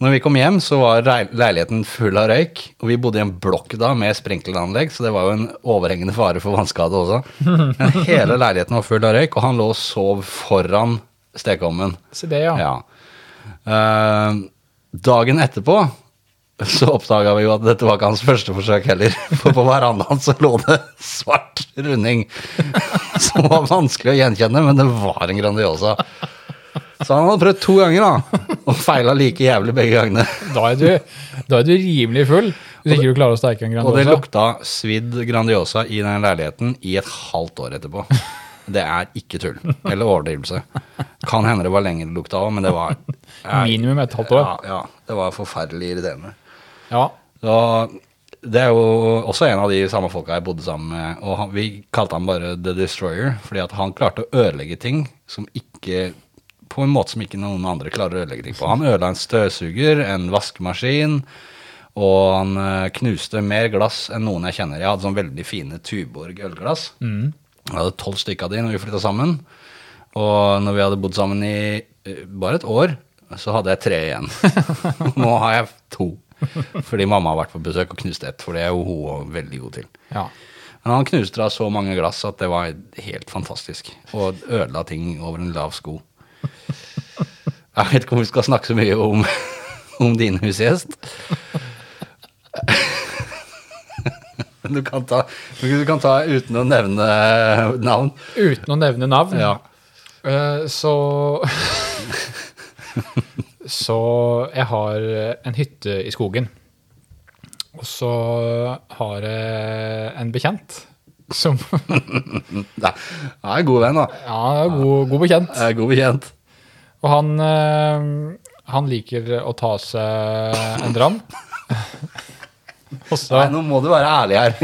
S2: Når vi kom hjem, så var rei- leiligheten full av røyk, og vi bodde i en blokk da med sprinkleranlegg, så det var jo en overhengende fare for vannskade
S1: (laughs)
S2: også. Men hele leiligheten var full av røyk, og han lå og sov foran stekeovnen.
S1: Se det, ja.
S2: Ja. Eh, dagen etterpå så oppdaga vi jo at dette var ikke hans første forsøk heller. (laughs) For på verandaen så lå det svart runding (laughs) som var vanskelig å gjenkjenne, men det var en Grandiosa. Så han hadde prøvd to ganger, da, og feila like jævlig begge gangene.
S1: Da er du, da er du rimelig full hvis ikke du klarer å steike en
S2: Og det
S1: Grandiosa.
S2: lukta svidd Grandiosa i den leiligheten i et halvt år etterpå. Det er ikke tull. Eller overdrivelse. Kan hende det var lenge det lukta òg, men det var
S1: Minimum et halvt år.
S2: Ja, ja, det var forferdelig irriterende.
S1: Ja.
S2: Så det er jo også en av de samme folka jeg bodde sammen med. Og han, vi kalte han bare The Destroyer, fordi at han klarte å ødelegge ting som ikke På en måte som ikke noen andre klarer å ødelegge ting på. Han ødela en støvsuger, en vaskemaskin, og han eh, knuste mer glass enn noen jeg kjenner. Jeg hadde sånn veldig fine Tuborg ølglass. Jeg hadde tolv stykker av de når vi flytta sammen. Og når vi hadde bodd sammen i eh, bare et år, så hadde jeg tre igjen. (laughs) Nå har jeg to. Fordi mamma har vært på besøk og knust ett, for det er jo hun veldig god til.
S1: ja.
S2: Men han knuste da så mange glass at det var helt fantastisk. Og ødela ting over en lav sko. Jeg vet ikke om vi skal snakke så mye om, (laughs) om din husgjest. Men du kan, ta, du kan ta uten å nevne navn.
S1: Uten å nevne navn,
S2: Ja.
S1: eh, så (laughs) Så jeg har en hytte i skogen. Og så har jeg en bekjent som (laughs)
S2: Nei, han er en god venn, da.
S1: Ja, god, god bekjent.
S2: Jeg er god bekjent.
S1: Og han, eh, han liker å ta seg en dram. (laughs) Og så
S2: Nei, nå må du være ærlig her. (laughs)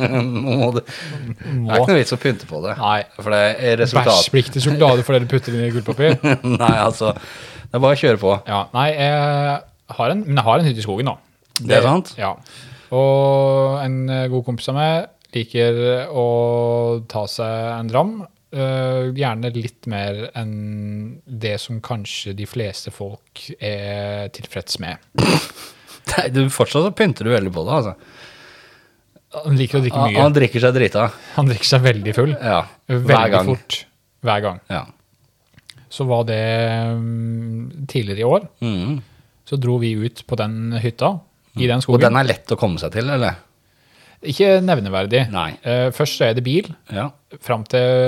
S2: Nå må du Det er ikke
S1: Må.
S2: noe vits å pynte på det.
S1: Nei.
S2: For det er resultat
S1: Bæsjpliktig sjokolade fordi du putter det inn i gullpapir.
S2: (laughs) Nei, altså. Det er bare å kjøre på.
S1: Ja, nei, jeg har en, men jeg har en hytte i skogen, da.
S2: Det er sant?
S1: Ja. Og en eh, god kompis av meg liker å ta seg en dram. eh, gjerne litt mer enn det som kanskje de fleste folk er tilfreds med.
S2: Nei, Du, fortsatt så pynter du veldig på det, altså.
S1: Han liker å drikke
S2: Han,
S1: mye.
S2: han drikker seg drita.
S1: Han drikker seg veldig full.
S2: Ja. Hver
S1: Veldig
S2: gang.
S1: fort. Hver gang.
S2: Ja.
S1: Så var det mm, tidligere i år.
S2: Mhm.
S1: Så dro vi ut på den hytta i den
S2: Og
S1: skogen.
S2: den er lett å komme seg til, eller?
S1: Ikke nevneverdig.
S2: Nei.
S1: Eh, først så er det bil
S2: Ja.
S1: fram til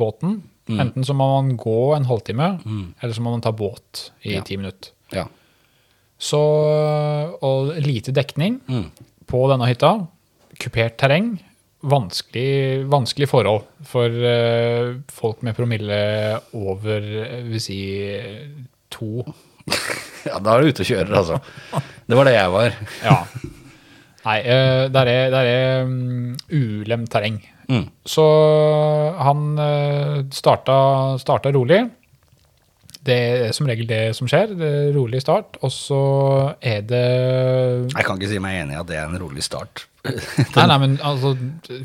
S1: båten.
S2: Mm.
S1: Enten så må man gå en halvtime, eller så må man ta båt i
S2: Ja.
S1: ti minutter.
S2: ja.
S1: Så, og lite dekning
S2: Mm.
S1: på denne hytta. Kupert terreng. Vanskelig, vanskelig forhold for eh, folk med promille over eh, vil si to.
S2: Ja, da er du ute og kjører, altså. (laughs) Det var det jeg var.
S1: Ja. (laughs) Nei, eh, der er, der er mm, ulemt terreng.
S2: Mm.
S1: Så han eh, starta, starta rolig. Det er som regel det som skjer. Det er rolig start, og så er det
S2: (laughs) Jeg kan ikke si meg enig i at det er en rolig start. (laughs)
S1: Nei, nei, men altså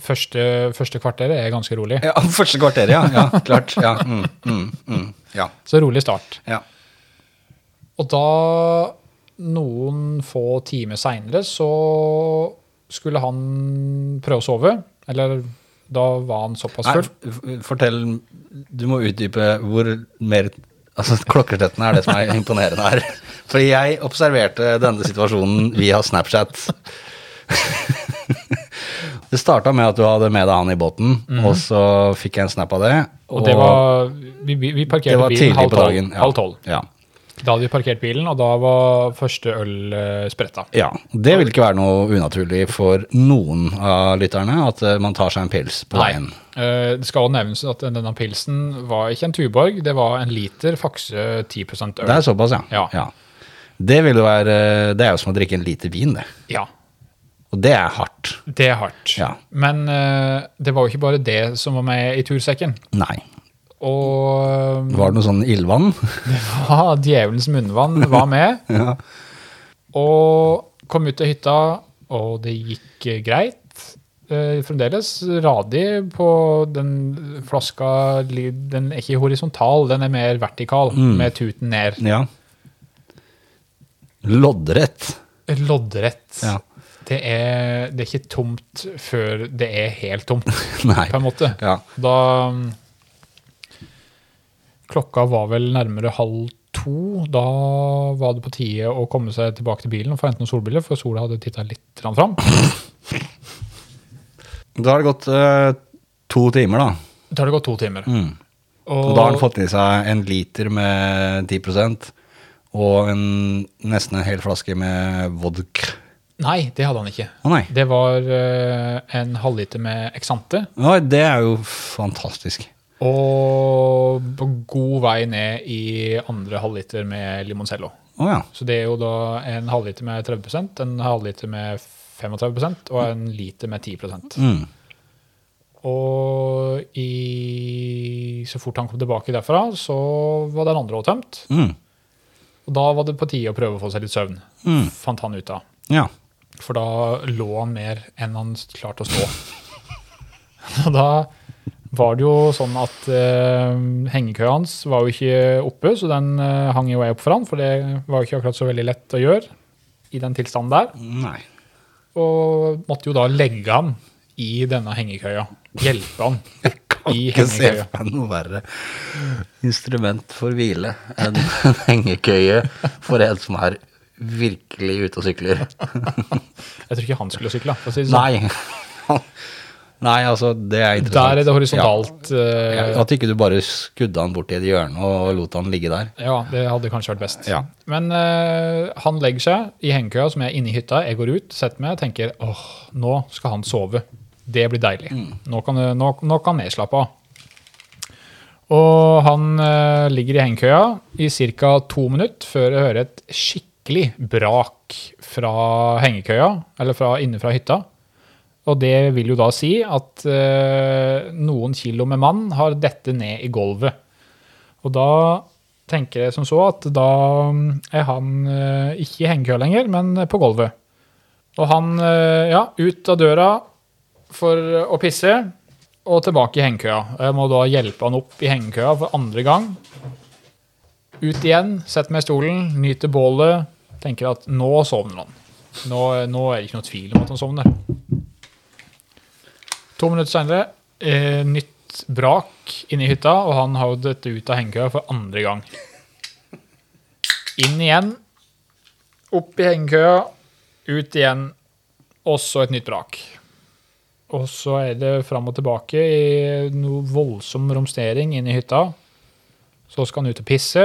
S1: Første, første kvarteret er ganske rolig.
S2: Ja, Første kvarteret, ja. ja klart. Ja. Mm, mm, mm. ja.
S1: Så rolig start.
S2: ja.
S1: Og da, noen få timer seinere, så skulle han prøve å sove. Eller da var han såpass
S2: Nei,
S1: full.
S2: f- fortell Du må utdype hvor mer Altså, klokkeslettene er det som er imponerende her. (laughs) Fordi jeg observerte denne situasjonen via Snapchat. (laughs) Det starta med at du hadde med deg han i båten, og så fikk jeg en snap av det.
S1: Mhm. Og det var Vi, vi vi
S2: det
S1: parkerte
S2: var
S1: bilen
S2: tidlig
S1: halv
S2: på
S1: tolv.
S2: dagen. ja.
S1: Halv tolv.
S2: Ja.
S1: Da hadde vi parkert bilen, og da var første øl eh, spretta.
S2: ja. Det vil ikke være noe unaturlig for noen av lytterne at eh, man tar seg en pils på veien.
S1: Eh, Det skal også nevnes at denne pilsen var ikke en Tuborg, det var en liter Fakse 10 øl.
S2: Det er såpass, ja.
S1: Ja.
S2: Det, vil jo være, det er jo som å drikke en liter vin, det.
S1: Ja,
S2: Og det er hardt.
S1: det er hardt.
S2: Ja.
S1: Men eh, det var jo ikke bare det som var med i tursekken.
S2: Nei.
S1: (laughs) Og
S2: Var det noe sånn ildvann?
S1: ja, djevelens munnvann var med.
S2: Ja.
S1: Og kom ut til hytta, og det gikk eh, greit. Eh, fremdeles radig på den flaska li- Den er ikke horisontal, den er mer vertikal,
S2: Mm.
S1: med tuten ned.
S2: ja. Loddrett. (laughs)
S1: Loddrett.
S2: Ja.
S1: Det, er, det er ikke tomt før det er helt tomt,
S2: Nei.
S1: på en måte.
S2: (laughs) Ja.
S1: Da mm, Klokka var vel nærmere halv to. Da var det på tide å komme seg tilbake til bilen og få enten noen solbriller, for sola hadde titta litt grann fram.
S2: Da har det gått eh, to timer, da.
S1: Da har det gått to timer.
S2: Mm. Og da har han fått i seg en liter med 10 og en, nesten en hel flaske med vodka.
S1: Nei, det hadde han ikke.
S2: Å nei.
S1: Det var eh, en halvliter med Exante.
S2: Oi, det er jo fantastisk.
S1: Og på god vei ned i andre halvliter med Limoncello.
S2: Å ja.
S1: Så det er jo da en halvliter med 30 en halvliter med 35 og en liter med 10
S2: Mm.
S1: Og i, så fort han kom tilbake derfra, så var den andre også tømt.
S2: Mm.
S1: Og da var det på tide å prøve å få seg litt søvn,
S2: Mm.
S1: fant han ut av.
S2: Ja.
S1: For da lå han mer enn han klarte å stå. (laughs) Og da var det jo sånn at eh, hengekøya hans var jo ikke oppe, så den eh, hang jo jeg opp for han, for det var jo ikke akkurat så veldig lett å gjøre i den tilstanden der.
S2: Nei.
S1: Og måtte jo da legge han i denne hengekøya. Hjelpe han i
S2: Ikke se
S1: hengekøya.
S2: for meg noe verre instrument for hvile
S1: (laughs)
S2: enn en hengekøye for en som er virkelig ute og sykler.
S1: Altså. Jeg tror ikke han skulle sykle. For å si det sånn.
S2: Nei. (laughs) Nei, altså, det er interessant.
S1: Der er det horisontalt.
S2: Ja.
S1: eh,
S2: At ikke du bare skudde han bort i et hjørne og lot han ligge der.
S1: Ja, det hadde kanskje vært best.
S2: Ja.
S1: Men eh, han legger seg i hengekøya som er inne i hytta. Jeg går ut, setter meg og tenker åh, nå skal han sove. Det blir deilig. Nå, kan, det- nå, nå kan jeg slappe av. Og han eh, ligger i hengekøya i ca. to minutter før jeg hører et skikkelig brak fra hengekøya, eller fra, inne fra hytta. Og det vil jo da si at eh, noen kilo med mann har dette ned i gulvet. Og da tenker jeg som så at da mm, er han eh, ikke i hengekøya lenger, men på gulvet. Og han, eh, ja, ut av døra for å pisse, og tilbake i hengekøya. Og Jeg må da hjelpe han opp i hengekøya for andre gang. Ut igjen, sette meg i stolen, nyte bålet. Tenker at nå sovner han. Nå, nå er det ikke noe tvil om at han sovner. To minutter senere, eh, nytt brak inne i hytta, og han har jo dette ut av hengekøya for andre gang. Inn igjen, opp i hengekøya, ut igjen, og så et nytt brak. Og så er det fram og tilbake i noe voldsom romstering inne i hytta. Så skal han ut og pisse,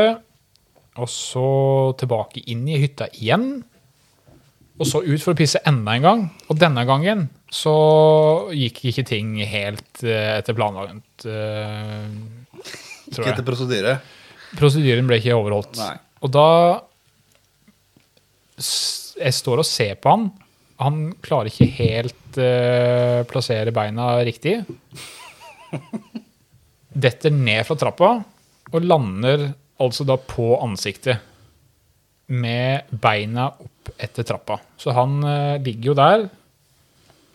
S1: og så tilbake inn i hytta igjen. Og så ut for å pisse enda en gang. Og denne gangen så gikk ikke ting helt eh, etter planlagt. eh, tror
S2: Ikke
S1: jeg.
S2: etter prosedyre.
S1: Prosedyren ble ikke overholdt.
S2: Nei.
S1: Og da s- Jeg står og ser på han. Han klarer ikke helt eh, plassere beina riktig. Detter ned fra trappa og lander altså da på ansiktet. Med beina opp etter trappa. Så han eh, ligger jo der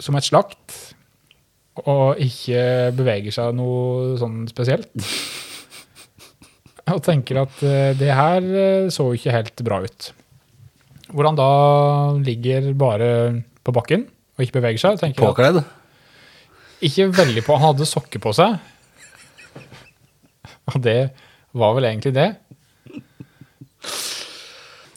S1: som et slakt og ikke beveger seg noe sånn spesielt. Og tenker at eh, det her eh, så jo ikke helt bra ut. Hvor han da ligger bare på bakken og ikke beveger seg. tenker jeg at-
S2: Påkledd.
S1: Ikke veldig på. Han hadde sokker på seg. Og det var vel egentlig det.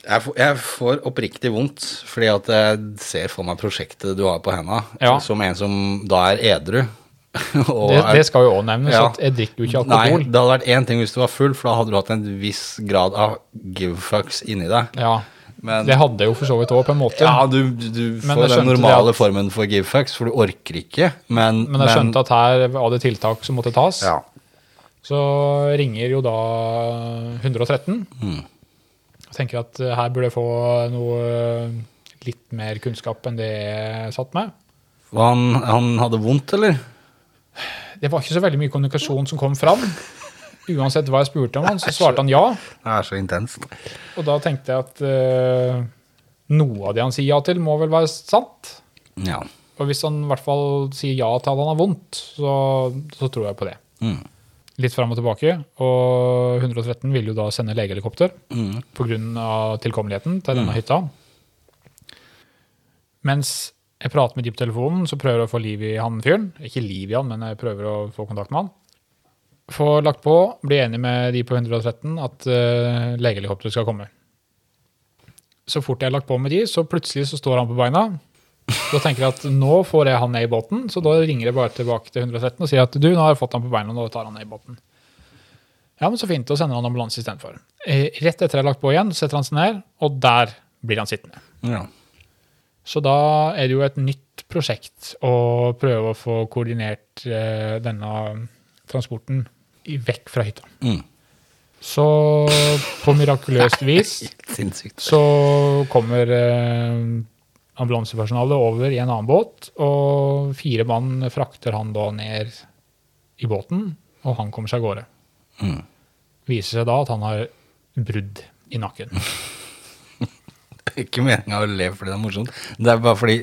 S2: Jeg får, jeg får oppriktig vondt, fordi at jeg ser for meg prosjektet du har på henda,
S1: Ja.
S2: som en som da er edru. (laughs) og
S1: Det,
S2: er-
S1: det skal jo òg nevnes
S2: Ja.
S1: at jeg drikker jo ikke
S2: Nei,
S1: alkohol.
S2: det hadde vært én ting hvis du var full, for da hadde du hatt en viss grad av give fucks inni deg.
S1: Ja,
S2: Men
S1: Det hadde jeg jo for så vidt òg, på en måte.
S2: ja, du, du
S1: Men
S2: får
S1: jeg
S2: den
S1: skjønte det
S2: normale
S1: at-
S2: formen for give fucks, for du orker ikke, men
S1: Men jeg skjønte at her var det tiltak som måtte tas.
S2: ja.
S1: Så ringer jo da 113. Og tenker at eh, her burde jeg få noe eh, litt mer kunnskap enn det jeg satt med.
S2: Og han, han hadde vondt, eller?
S1: Det var ikke så veldig mye kommunikasjon som kom fram. Uansett hva jeg spurte om han, så svarte han ja.
S2: Det er så intenst.
S1: Og da tenkte jeg at eh, noe av det han sier ja til, må vel være sant.
S2: Ja.
S1: Og hvis han i hvert fall sier ja til at han har vondt, så, så tror jeg på det.
S2: Mm.
S1: Litt fram og tilbake. Og 113 vil jo da sende legehelikopter
S2: Mm,
S1: pga. tilkommeligheten til denne hytta. Mens jeg prater med de på telefonen, så prøver jeg å få liv i han fyren. Ikke liv i han, men jeg prøver å få kontakt med han. Får lagt på, blir enig med de på 113 at uh, legehelikopteret skal komme. Så fort jeg har lagt på med de, så plutselig så står han på beina. Da tenker jeg at nå får jeg han ned i båten, så da ringer jeg bare tilbake til 113 og sier at du, nå har jeg fått han på beina, nå tar han ned i båten. Ja, men så fint, da sender han ambulanse istedenfor. Eh, Rett etter jeg har lagt på igjen, setter han seg ned, og der blir han sittende.
S2: ja.
S1: Så da er det jo et nytt prosjekt å prøve å få koordinert eh, denne transporten i- vekk fra hytta.
S2: Mm.
S1: Så på mirakuløst vis
S2: Sinnssykt.
S1: så kommer eh, ambulansepersonalet over i en annen båt, og fire mann frakter han da ned i båten, og han kommer seg av gårde.
S2: Mm.
S1: Viser seg da at han har brudd i nakken.
S2: (laughs) Det er ikke meninga å le fordi det er morsomt. Det er bare fordi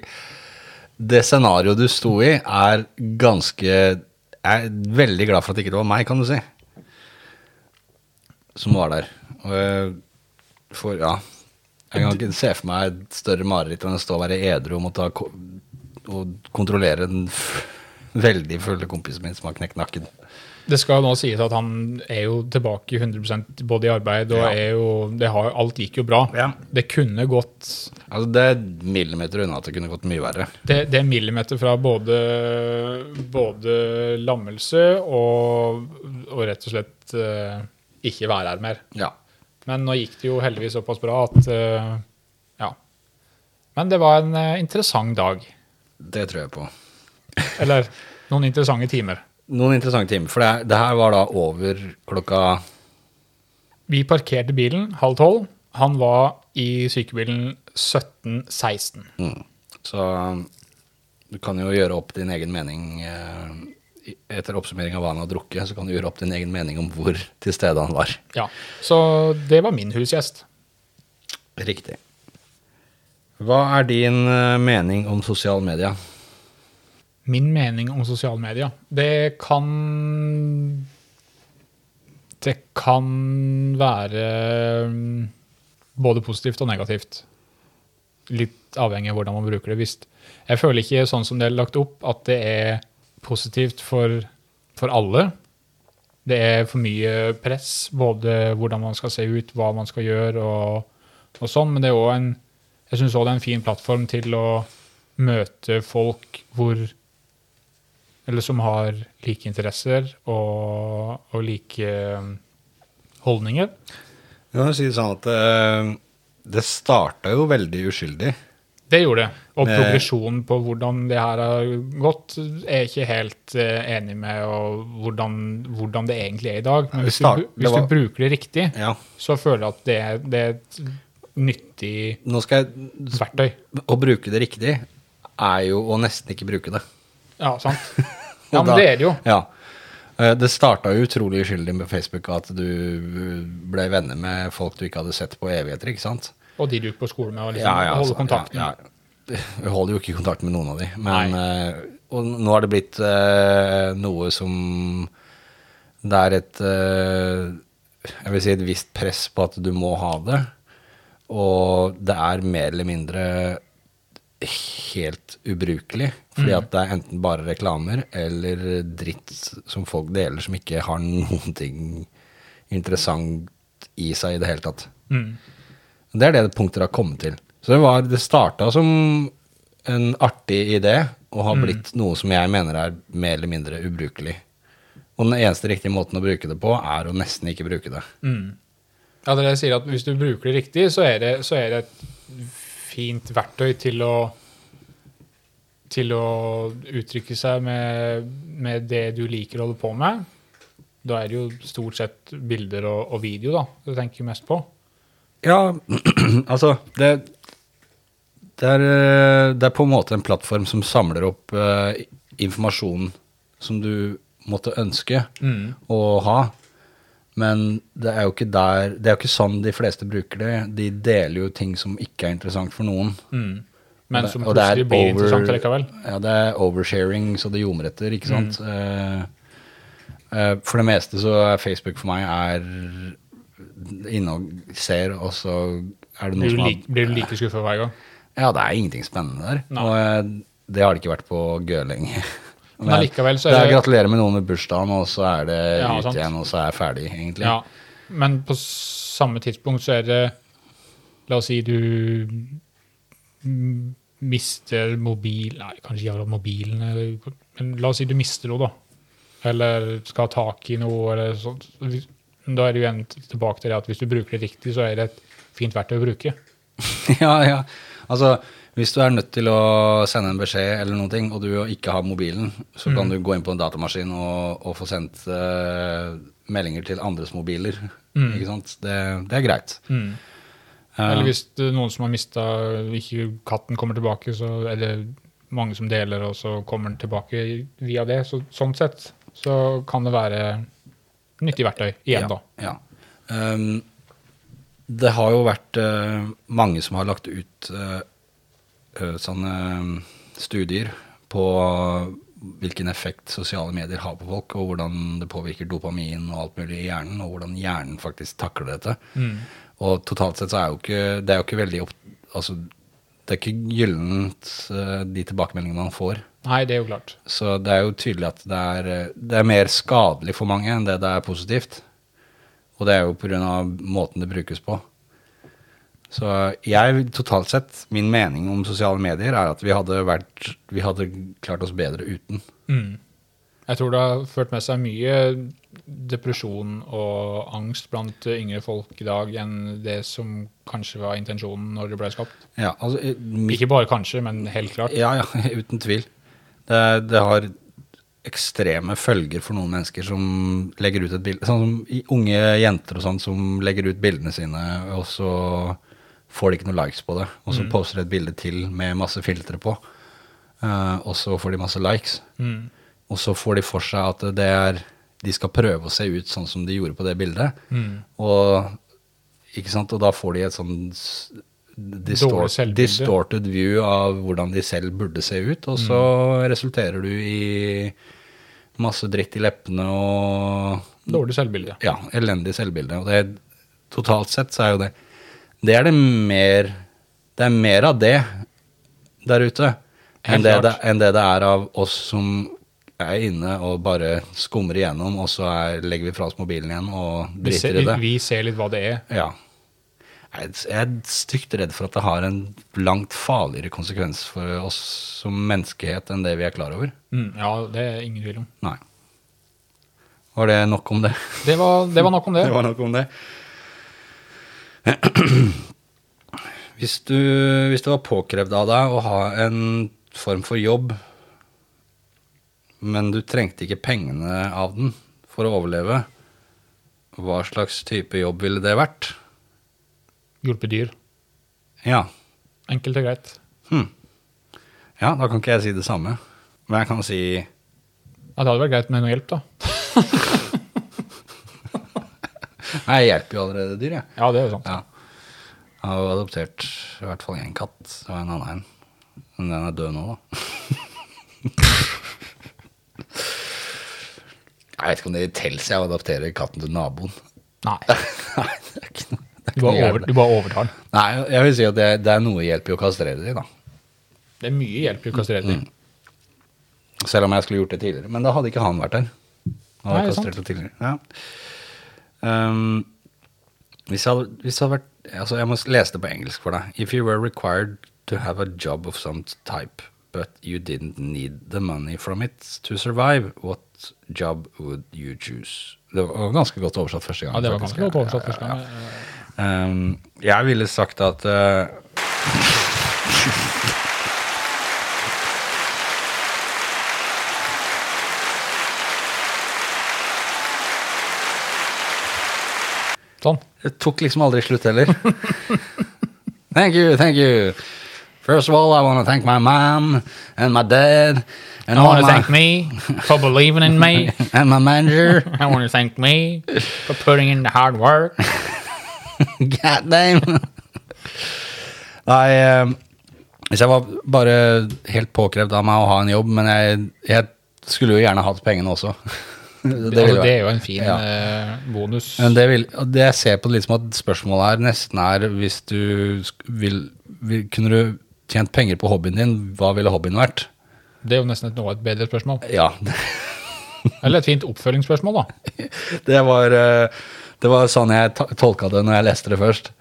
S2: det scenarioet du sto i, er ganske Jeg er veldig glad for at ikke det var meg, kan du si, som var der. Og jeg, for ja Jeg kan ikke se for meg et større mareritt enn å stå og være edru og måtte ha ko- og kontrollere den f veldig fulle kompisen min som har knekt nakken.
S1: Det skal jo nå sies at han er jo tilbake i 100 både i arbeid og
S2: Ja.
S1: er jo, det har, alt gikk jo bra.
S2: Ja.
S1: Det kunne gått
S2: Altså, det er millimeter unna at det kunne gått mye verre.
S1: det, det er millimeter fra både, både lammelse og, og rett og slett eh, ikke være her mer.
S2: Ja.
S1: Men nå gikk det jo heldigvis såpass bra at eh, Ja. Men det var en eh, interessant dag.
S2: Det tror jeg på.
S1: Eller noen interessante timer.
S2: Noen interessante timer. For det, er- det her var da over klokka
S1: Vi parkerte bilen halv tolv. Han var i sykebilen 17.16.
S2: mm. Så um, Du kan jo gjøre opp din egen mening eh, i- etter oppsummering av hva han har drukket, så kan du gjøre opp din egen mening om hvor til stede han var.
S1: Ja. Så det var min husgjest.
S2: Riktig. Hva er din eh, mening om sosiale medier?
S1: Min mening om sosiale medier Det kan Det kan være mm, både positivt og negativt. Litt avhengig av hvordan man bruker det. Hvis jeg føler ikke sånn som det er lagt opp, at det er positivt for, for alle. Det er for mye press, både hvordan man skal se ut, hva man skal gjøre og, og sånn. Men det er også en, jeg syns òg det er en fin plattform til å møte folk hvor Eller som har like interesser og, og like um, holdninger.
S2: Jeg kan si det sånn at eh, det starta jo veldig uskyldig.
S1: Det gjorde det. Og
S2: Med-
S1: progresjonen på hvordan det her har gått, er jeg ikke helt eh, enig med og hvordan, hvordan det egentlig er i dag.
S2: Nei,
S1: Men
S2: vi
S1: hvis,
S2: start-
S1: du,
S2: det
S1: hvis
S2: var-
S1: du bruker det riktig,
S2: Ja.
S1: så føler jeg at det, er- det er et nyttig
S2: Nå skal jeg (laughs)
S1: verktøy.
S2: Å bruke det riktig er jo å nesten ikke bruke det.
S1: Ja, sant? Ja,
S2: Og
S1: men
S2: da-
S1: det er det jo.
S2: Ja. Eh, Det starta jo utrolig uskyldig med Facebook, at du eh, ble venner med folk du ikke hadde sett på evigheter, ikke sant?
S1: Og de du gikk på skole med, og liksom holde
S2: altså,
S1: kontakten.
S2: ja, ja. Vi holder jo ikke kontakt med noen av de. Men, eh, og nå har det blitt eh, noe som Det er et eh, Jeg vil si et visst press på at du må ha det. Og det er mer eller mindre helt ubrukelig.
S1: Mm.
S2: Fordi at det er enten bare reklamer eller dritt som folk deler som ikke har noen ting interessant i seg i det hele tatt.
S1: Mm.
S2: Det er det punktet det har kommet til. Så det, var, det starta som en artig idé, og har blitt noe som jeg mener er mer eller mindre ubrukelig. Og den eneste riktige måten å bruke det på, er å nesten ikke bruke det.
S1: Mm. Ja, det er det jeg sier at hvis du bruker det riktig, så er det, så er det et fint verktøy til å til å uttrykke seg med, med det du liker å holde på med. Da er det jo stort sett bilder og, og video da, du tenker mest på.
S2: Ja, (clears throat) altså det, det, er, eh, det er på en måte en plattform som samler opp eh, informasjon som du måtte ønske å ha. Men det er jo ikke der Det er jo ikke sånn de fleste bruker det. De deler jo ting som ikke er interessant for noen.
S1: Mm. Men som
S2: Og det er
S1: plutselig blir
S2: over-
S1: interessant likevel.
S2: Ja, det er oversharing, så det ljomer etter, ikke sant.
S1: Mm.
S2: Eh, eh, for det meste så er Facebook for meg er inne og ser, og så er det noe
S1: Blir du,
S2: som har-
S1: like, blir du like skuffa hver gang.
S2: Ja, det er ingenting spennende der.
S1: Nei.
S2: Og eh, det har det ikke vært på gøy lenge. (laughs)
S1: Men allikevel så
S2: det
S1: er
S2: er
S1: det
S2: gratulerer med noen med bursdagen, og så er det
S1: Ja,
S2: ut
S1: sant.
S2: igjen, og så er jeg ferdig, egentlig.
S1: Ja, men på samme tidspunkt så er det La oss si du m- mister mobil Nei, kanskje ikke akkurat mobilen, eller, men la oss si du mister noe, da. Eller skal ha tak i noe, eller sånt. Da er det jo igjen tilbake til det at hvis du bruker det riktig, så er det et fint verktøy å bruke.
S2: (laughs) ja, ja. Altså, hvis du er nødt til å sende en beskjed eller noen ting, og du ikke har mobilen, så kan du gå inn på en datamaskin og, og få sendt eh, meldinger til andres mobiler. Ikke sant? Det, det er greit. Eh,
S1: Eller hvis det er noen som har mista Ikke katten kommer tilbake, så er det mange som deler, og så kommer den tilbake via det. Så, sånn sett så kan det være nyttig verktøy igjen, da.
S2: Ja. ja. Um, det har jo vært eh, mange som har lagt ut eh, eh, sånne eh, studier på hvilken effekt sosiale medier har på folk, og hvordan det påvirker dopamin og alt mulig i hjernen, og hvordan hjernen faktisk takler dette.
S1: Mm.
S2: Og totalt sett så er jo ikke det er jo ikke veldig opp, altså, det er ikke gyllent eh, de tilbakemeldingene man får.
S1: Nei, det er jo klart.
S2: Så det er jo tydelig at det er, det er mer skadelig for mange enn det det er positivt. Og det er jo pga. måten det brukes på. Så jeg, totalt sett, min mening om sosiale medier er at vi hadde, vært, vi hadde klart oss bedre uten.
S1: Mm. Jeg tror det har ført med seg mye depresjon og angst blant yngre folk i dag enn det som kanskje var intensjonen når det ble skapt.
S2: Ja, altså, eh, mitt,
S1: Ikke bare kanskje, men helt klart.
S2: ja, ja (laughs) uten tvil. Det, det har ekstreme følger for noen mennesker som legger ut et bilde Sånn som i- unge jenter og sånn som legger ut bildene sine, og så får de ikke noen likes på det. Og så poster de et bilde til med masse filtre på. eh, og så får de masse likes.
S1: Mm.
S2: Og så får de for seg at det er de skal prøve å se ut sånn som de gjorde på det bildet. Og, ikke sant? og da får de et sånn s- distort,
S1: selvbilde.
S2: distorted view av hvordan de selv burde se ut, og så resulterer du i masse dritt i leppene og
S1: Dårlig selvbilde.
S2: ja, elendig selvbilde. Og det, totalt sett så er jo det Det er det mer Det er mer av det der ute enn
S1: Helt
S2: det, det,
S1: klart.
S2: enn det det er av oss som er inne og bare skummer igjennom, og så er, legger vi fra oss mobilen igjen og
S1: Vi ser,
S2: driter i det.
S1: vi ser litt hva det er.
S2: Ja. Jeg er- jeg er stygt redd for at det har en langt farligere konsekvens for oss som menneskehet enn det vi er klar over.
S1: Mm, ja, det er ingen tvil om.
S2: Nei. Var det nok om det?
S1: Det var, det var nok om det.
S2: Det var nok om det. (clears throat) Hvis, du, hvis det var påkrevd av deg å ha en form for jobb, men du trengte ikke pengene av den for å overleve, hva slags type jobb ville det vært?
S1: Hjulpet dyr.
S2: Ja, Hm.
S1: Enkelt og greit.
S2: ja da kan ikke jeg si det samme. Men jeg kan si
S1: Ja, det hadde vært greit med noe hjelp, da.
S2: Nei, jeg hjelper jo allerede dyr, jeg.
S1: Ja, det er jo sant.
S2: Ja. Jeg har jo adoptert i hvert fall én katt og en annen en. Men den er død nå, da. Jeg vet ikke om det teller seg å adoptere katten til naboen. (laughs)
S1: Nei,
S2: Nei, det er ikke noe, det er ikke noe
S1: du bare, over,
S2: hjelp.
S1: du bare overtar den.
S2: Nei, jeg vil si at det, det er noe hjelp i å kastrere dem, da.
S1: Det er mye hjelp i å kastrere
S2: Mm.
S1: dyr.
S2: Selv om jeg skulle gjort det tidligere. Men da hadde ikke han vært der. Han hadde
S1: Nei,
S2: kastrert det tidligere. Ja. Ehm, hvis jeg hadde, hvis jeg hadde vært altså Jeg må lese det på engelsk for deg. If you were required to have a job of some type, but you didn't need the money from it to survive, what job would you choose? Det var ganske godt oversatt første gang.
S1: Ja, det var
S2: faktisk.
S1: ganske godt oversatt første gang.
S2: Ehm, jeg ville sagt at eh,
S1: Sånn.
S2: Det tok liksom aldri slutt heller. (laughs) thank you, thank you. First of all, I want to thank my mom and my dad and,
S1: I
S2: all
S1: want to
S2: my,
S1: thank me for believing in me.
S2: (laughs) and my manager. (laughs)
S1: I want to thank me for putting in the hard work.
S2: God damn. Nei, eh, hvis jeg var bare helt påkrevd av meg å ha en jobb, men jeg, jeg skulle jo gjerne hatt pengene også. (laughs) det,
S1: Det,
S2: ville
S1: altså, det
S2: vært-
S1: er jo en fin
S2: Ja.
S1: eh, bonus.
S2: Men det, vil, og det jeg ser på det litt som at spørsmålet her nesten er hvis du sk- vil, vil Kunne du tjent penger på hobbyen din, hva ville hobbyen vært?
S1: Det er jo nesten et noe et bedre spørsmål.
S2: Ja, (laughs)
S1: Eller et fint oppfølgingsspørsmål, da.
S2: det var, eh, det var sånn jeg ta- tolka det når jeg leste det først.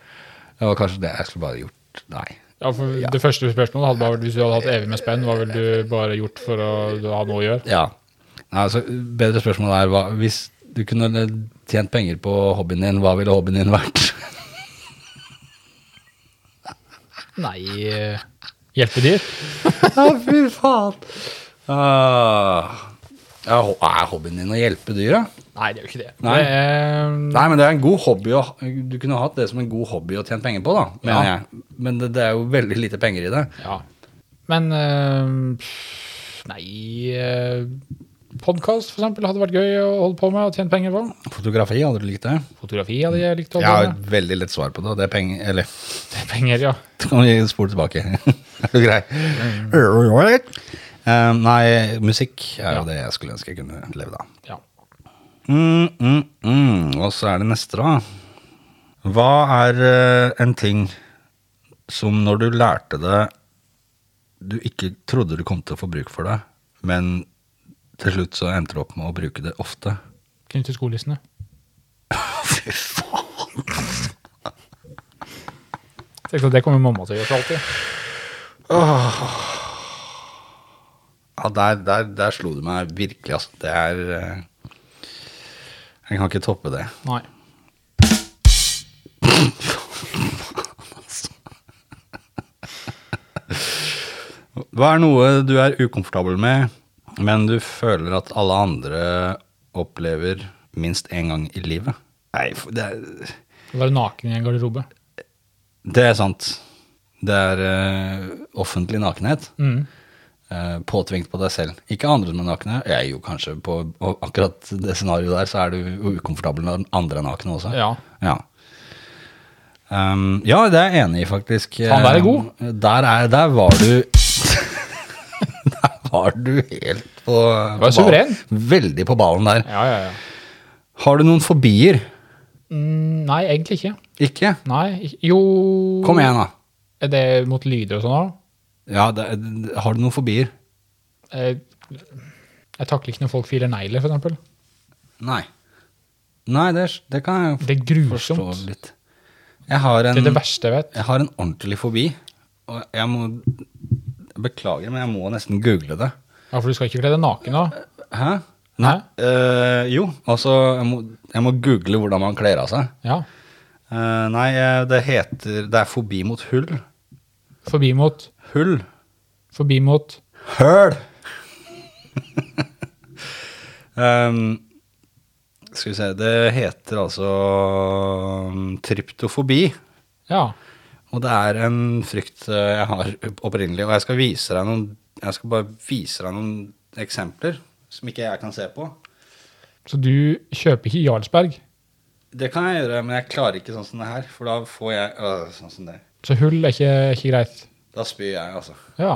S2: Det var kanskje det jeg skulle bare gjort. Nei.
S1: Ja, for Det første spørsmålet hadde bare vært hvis du hadde hatt evig med spenn, hva ville du bare gjort for å ha noe å gjøre?
S2: Ja. Nei, altså, bedre spørsmål er hva, hvis du kunne eh, tjent penger på hobbyen din, hva ville hobbyen din vært?
S1: Nei eh, Hjelpe dyr?
S2: (laughs) Ja, fy faen! Ah. Ja, ho- er hobbyen din å hjelpe dyra?
S1: Nei, det er jo ikke det.
S2: Nei.
S1: Det er,
S2: Nei, men det er en god hobby å, Du kunne hatt det som en god hobby å tjene penger på, da. Mener
S1: Ja.
S2: jeg. Men det, det er jo veldig lite penger i det.
S1: Ja. Men eh, Nei eh, Podkast, for eksempel, hadde vært gøy å holde på med og tjene penger på.
S2: Fotografi, hadde du likt det?
S1: Fotografi hadde jeg likt å
S2: Jeg
S1: holde
S2: har
S1: på
S2: et veldig lett svar på det. og Det er penger Eller,
S1: med. Penger, ja.
S2: da kan vi spole tilbake. (laughs) er du grei? Eh, nei, musikk er jo
S1: Ja.
S2: det jeg skulle ønske jeg kunne levd av.
S1: ja.
S2: Mm, mm, mm. Og så er det neste, da. Hva er eh, en ting som når du lærte det, du ikke trodde du kom til å få bruk for det, men til slutt så endte du opp med å bruke det ofte?
S1: Knytte skolissene.
S2: (laughs) Fy faen!
S1: Tenk at Det kommer mamma til å gjøre for alltid.
S2: Ja, der, der, der slo du meg virkelig, altså. Det er eh, Jeg kan ikke toppe det.
S1: Nei.
S2: Hva er noe du er ukomfortabel med, men du føler at alle andre opplever minst én gang i livet? Nei, for det er,
S1: Å være naken i en garderobe.
S2: det er sant. Det er eh, offentlig nakenhet.
S1: Mm.
S2: eh, påtvingt på deg selv. Ikke andre enn nakne. Jeg er jo kanskje på og akkurat det scenarioet der, så er du jo ukomfortabel når andre er nakne også.
S1: Ja.
S2: Ja. Ehm, ja, det er jeg enig i, faktisk.
S1: Faen, der er god.
S2: Ehm, Der, er, der var du (laughs) Der var du helt på Du
S1: var suveren.
S2: Veldig på ballen der.
S1: Ja, ja, ja.
S2: Har du noen fobier?
S1: Mm, nei, egentlig ikke.
S2: Ikke?
S1: Nei, ik- jo
S2: Kom igjen, da.
S1: Er det mot lyder og sånn òg?
S2: Ja, det, det- har du noen fobier?
S1: Jeg, jeg takler ikke når folk filer negler, f.eks.
S2: Nei. Nei, det, er- det kan jeg
S1: Det er grusomt.
S2: forstå litt. Jeg har en
S1: Det er det verste jeg vet.
S2: Jeg har en ordentlig fobi, og jeg må jeg Beklager, men jeg må nesten google det.
S1: Ja, For du skal ikke kle deg naken da?
S2: Hæ?
S1: Nei.
S2: Eh, jo, altså jeg må, jeg må google hvordan man kler av seg.
S1: Ja.
S2: Eh, nei, eh, det heter Det er fobi mot hull.
S1: Forbi mot,
S2: Hull.
S1: forbi mot
S2: Høl! (laughs) Ehm, skal vi se Det heter altså mm, tryptofobi.
S1: Ja.
S2: Og det er en frykt eh, jeg har opprinnelig, og jeg skal vise deg noen jeg skal bare vise deg noen eksempler som ikke jeg kan se på.
S1: Så du kjøper ikke Jarlsberg?
S2: Det kan jeg gjøre, men jeg klarer ikke sånn som det her, for da får jeg øh, sånn som det.
S1: Så hull er ikke, ikke greit?
S2: Da spyr jeg, altså.
S1: Ja.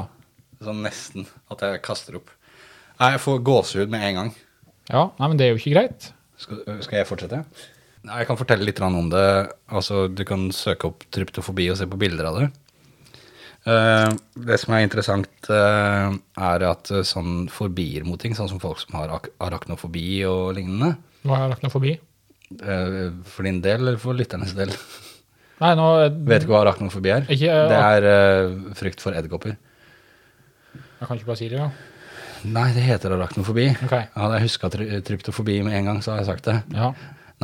S2: Sånn nesten at jeg kaster opp. Nei, jeg får gåsehud med en gang.
S1: Ja, Nei, men det er jo ikke greit.
S2: Skal, øh, skal jeg fortsette? Nei, jeg kan fortelle litt grann om det. Altså, du kan søke opp tryptofobi og se på bilder av det. Eh, det som er interessant, eh, er at eh, sånn fobier mot ting, sånn som folk som har ak arachnofobi og lignende,
S1: Nå har jeg lagt noe forbi.
S2: eh, for din del eller for lytternes del,
S1: Nei, nå
S2: vet ikke hva arachnofobi er.
S1: Ikke, eh,
S2: det er eh, frykt for edderkopper.
S1: Jeg kan ikke bare si det, ja.
S2: Nei, det heter arachnofobi.
S1: Ok.
S2: Hadde jeg huska try tryptofobi med en gang, så hadde jeg sagt det.
S1: Ja.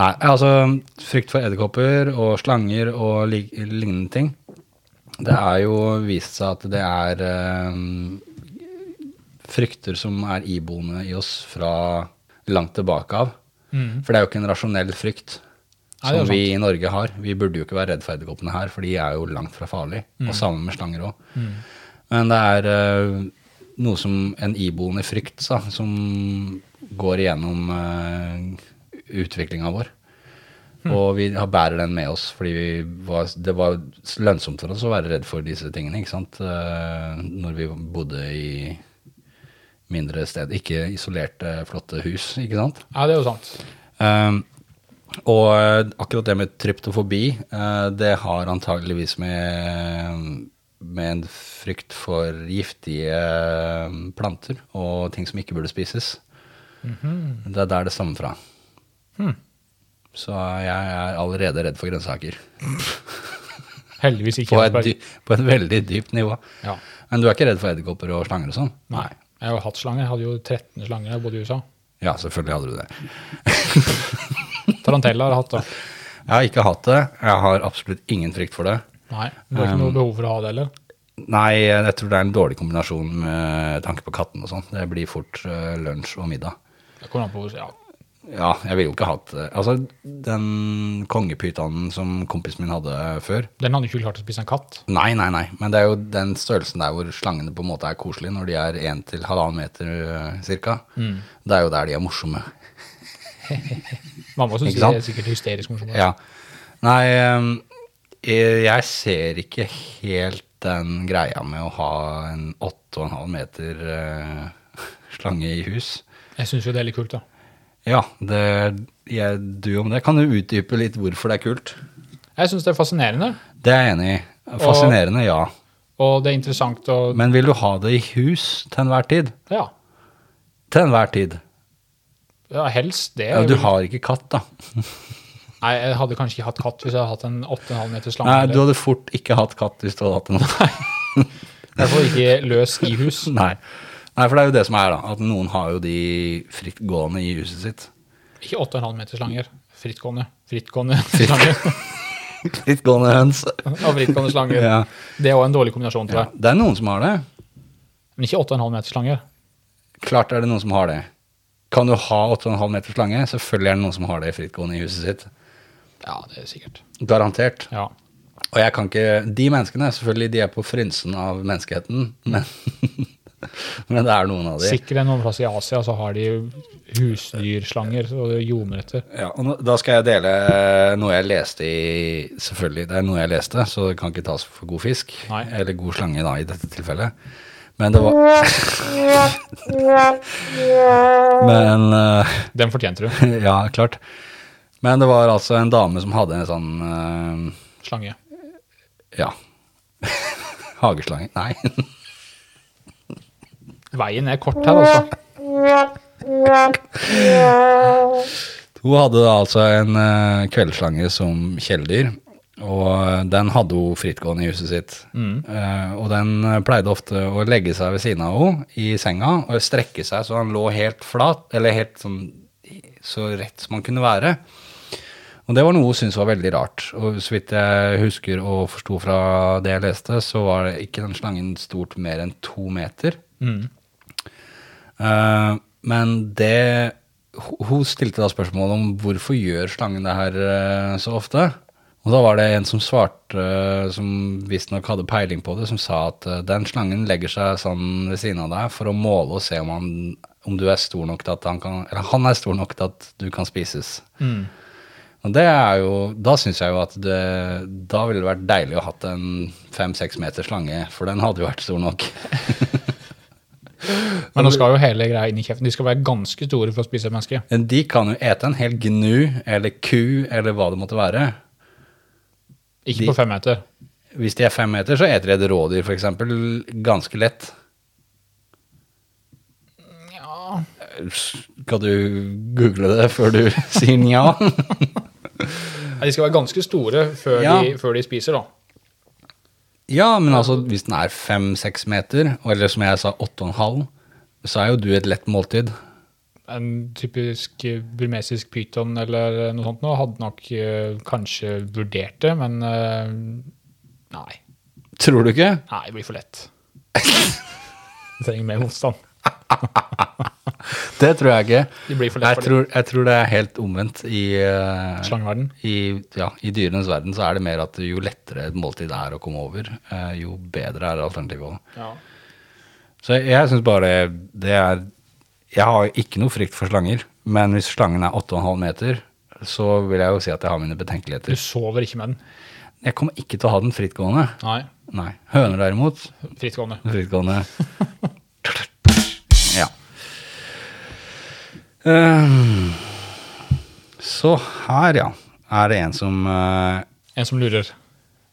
S2: Nei, altså frykt for edderkopper og slanger og lik- lignende ting. Det er jo vist seg at det er eh, frykter som er iboende i oss fra langt tilbake av.
S1: Mm.
S2: For det er jo ikke en rasjonell frykt
S1: Nei, det er
S2: som vi i Norge har. Vi burde jo ikke være redd for edderkoppene her, for de er jo langt fra farlige.
S1: Mm.
S2: Og sammen med slanger òg. Men det er eh, noe som en iboende frykt sa, som går igjennom uh, utviklinga vår. Og vi har, bærer den med oss, fordi vi var, det var lønnsomt for oss å være redd for disse tingene, ikke sant? Eh, når vi bodde i mindre steder. Ikke isolerte, flotte hus, ikke sant?
S1: ja, det er jo sant.
S2: Um, og eh, akkurat det med tryptofobi, eh, det har antageligvis med, med en frykt for giftige eh, planter og ting som ikke burde spises.
S1: Mhm.
S2: Det er der det stammer fra.
S1: Mm.
S2: Så jeg er allerede redd for
S1: (laughs)
S2: grønnsaker.
S1: Heldigvis ikke.
S2: På et,
S1: Jarlsberg.
S2: dy- på et veldig dypt nivå.
S1: Ja.
S2: Men du er ikke redd for edderkopper og slanger og sånn?
S1: Nei. Jeg har jo hatt slanger. Jeg hadde jo 13 slanger da jeg bodde i USA.
S2: Ja, selvfølgelig hadde du det.
S1: Tarantella har jeg hatt, da.
S2: (laughs) Jeg har ikke hatt det. Jeg har absolutt ingen frykt for det.
S1: Nei,
S2: Um,
S1: det er ikke noe behov for å ha det heller.
S2: Nei, jeg tror det er en dårlig kombinasjon med tanke på katten og sånn. Det blir fort eh, lunsj og middag.
S1: Det kommer an på hvor ja.
S2: Ja, jeg ville jo ikke hatt eh, Altså, den kongepytonen som kompisen min hadde før
S1: Den hadde ikke klart å spise en katt.
S2: Nei, nei, nei. Men det er jo den størrelsen der hvor slangene på en måte er koselige når de er 1 til halvannen meter eh, cirka. Det er jo der de er morsomme.
S1: Mamma syns
S2: Ikke
S1: det
S2: sant?
S1: er sikkert hysterisk morsomt.
S2: Ja. Nei, eh, jeg ser ikke helt den greia med å ha en 8,5 meter eh, (laughs) slange i hus.
S1: Jeg syns jo det er litt kult, da.
S2: Ja, det, jeg, du om det. Kan du utdype litt hvorfor det er kult?
S1: Jeg syns det er fascinerende,
S2: Det er jeg enig i. Fascinerende, ja.
S1: og det er interessant å
S2: Men vil du ha det i hus til enhver tid?
S1: Ja,
S2: Til enhver tid.
S1: ja helst det.
S2: Ja, du har ikke katt, da.
S1: Nei, jeg hadde kanskje ikke hatt katt hvis jeg hadde hatt en 8,5 meter slange.
S2: Nei,
S1: eller-
S2: du hadde fort ikke hatt katt hvis du hadde hatt en.
S1: I hvert fall ikke løs i hus.
S2: (laughs) Nei. Nei, for det er jo det som er, da. At noen har jo de frittgående i huset sitt.
S1: Ikke 8,5 meter slanger. Frittgående.
S2: (laughs)
S1: Frittgående slanger.
S2: Frittgående høns.
S1: Og frittgående slanger.
S2: Ja.
S1: Det er òg en dårlig kombinasjon, tror jeg.
S2: Det er noen som har det.
S1: Men ikke 8,5 meter slanger.
S2: Klart er det noen som har det. Kan du ha 8,5 meter slange? Selvfølgelig er det noen som har det frittgående i huset sitt.
S1: Ja, det er sikkert.
S2: Garantert.
S1: Ja.
S2: Og jeg kan ikke De menneskene, selvfølgelig, de er på frynsen av menneskeheten, men (laughs) Men det er noen av de.
S1: Sikkert en plass i Asia så har de husdyrslanger og ljomer etter.
S2: Ja, og nå, da skal jeg dele eh, noe jeg leste i Selvfølgelig, det er noe jeg leste, så det kan ikke tas for god fisk.
S1: Nei.
S2: Eller god slange, da, i dette tilfellet. Men det var Men eh, (laughs)
S1: Den fortjente du.
S2: Ja, klart. Men det var altså en dame som hadde en sånn eh,
S1: Slange.
S2: Ja. (laughs) Hageslange Nei.
S1: Veien er kort her, altså.
S2: (laughs) Hun hadde da altså en eh, kveldsslange som kjæledyr, og eh, den hadde hun frittgående i huset sitt. Eh, og den eh, pleide ofte å legge seg ved siden av henne i senga og strekke seg så han lå helt flat, eller helt sånn så rett som han kunne være. Og det var noe hun syntes var veldig rart. Og så vidt jeg husker og forsto fra det jeg leste, så var ikke den slangen stort mer enn to meter.
S1: Mm.
S2: Eh, men det ho- Hun stilte da spørsmål om hvorfor gjør slangen det her eh, så ofte? Og da var det en som svarte, eh, som visstnok hadde peiling på det, som sa at eh, den slangen legger seg sånn ved siden av deg for å måle og se om han, om du er stor nok til at han kan Eller han er stor nok til at du kan spises.
S1: Mm.
S2: Og det er jo Da syns jeg jo at det Da ville det vært deilig å hatt en fem-seks meter slange, for den hadde jo vært stor nok.
S1: Men nå skal jo hele greia inn i kjeften. De skal være ganske store for å spise et menneske.
S2: Men De kan jo ete en hel gnu eller ku eller hva det måtte være.
S1: Ikke
S2: De-
S1: på fem meter.
S2: Hvis de er fem meter, så eter de et rådyr f.eks. ganske lett.
S1: Ja.
S2: Skal du google det før du (laughs) sier nja?
S1: De skal være ganske store før,
S2: Ja.
S1: de, før de spiser, da.
S2: ja, men altså hvis den er fem-seks meter, eller som jeg sa åtte og en halv, så er jo du et lett måltid.
S1: En typisk eh, burmesisk pyton eller noe sånt nå hadde nok eh, kanskje vurdert det, men eh, nei.
S2: Tror du ikke?
S1: Nei, det blir for lett.
S2: (laughs)
S1: Du trenger mer motstand.
S2: Det tror jeg ikke.
S1: De blir for lett
S2: Jeg
S1: for det.
S2: tror, jeg tror det er helt omvendt i eh,
S1: Slangeverden.
S2: i, ja, i dyrenes verden så er det mer at jo lettere et måltid er å komme over, eh, jo bedre er alternativet òg.
S1: Ja.
S2: Så jeg, jeg syns bare det er Jeg har jo ikke noe frykt for slanger, men hvis slangen er 8,5 meter, så vil jeg jo si at jeg har mine
S1: Du
S2: betenkeligheter.
S1: sover ikke med den.
S2: Jeg kommer ikke til å ha den frittgående.
S1: Nei.
S2: Nei. Høner derimot,
S1: Frittgående.
S2: frittgående. Ja. Ehm, så her, ja, er det en som eh,
S1: En som lurer.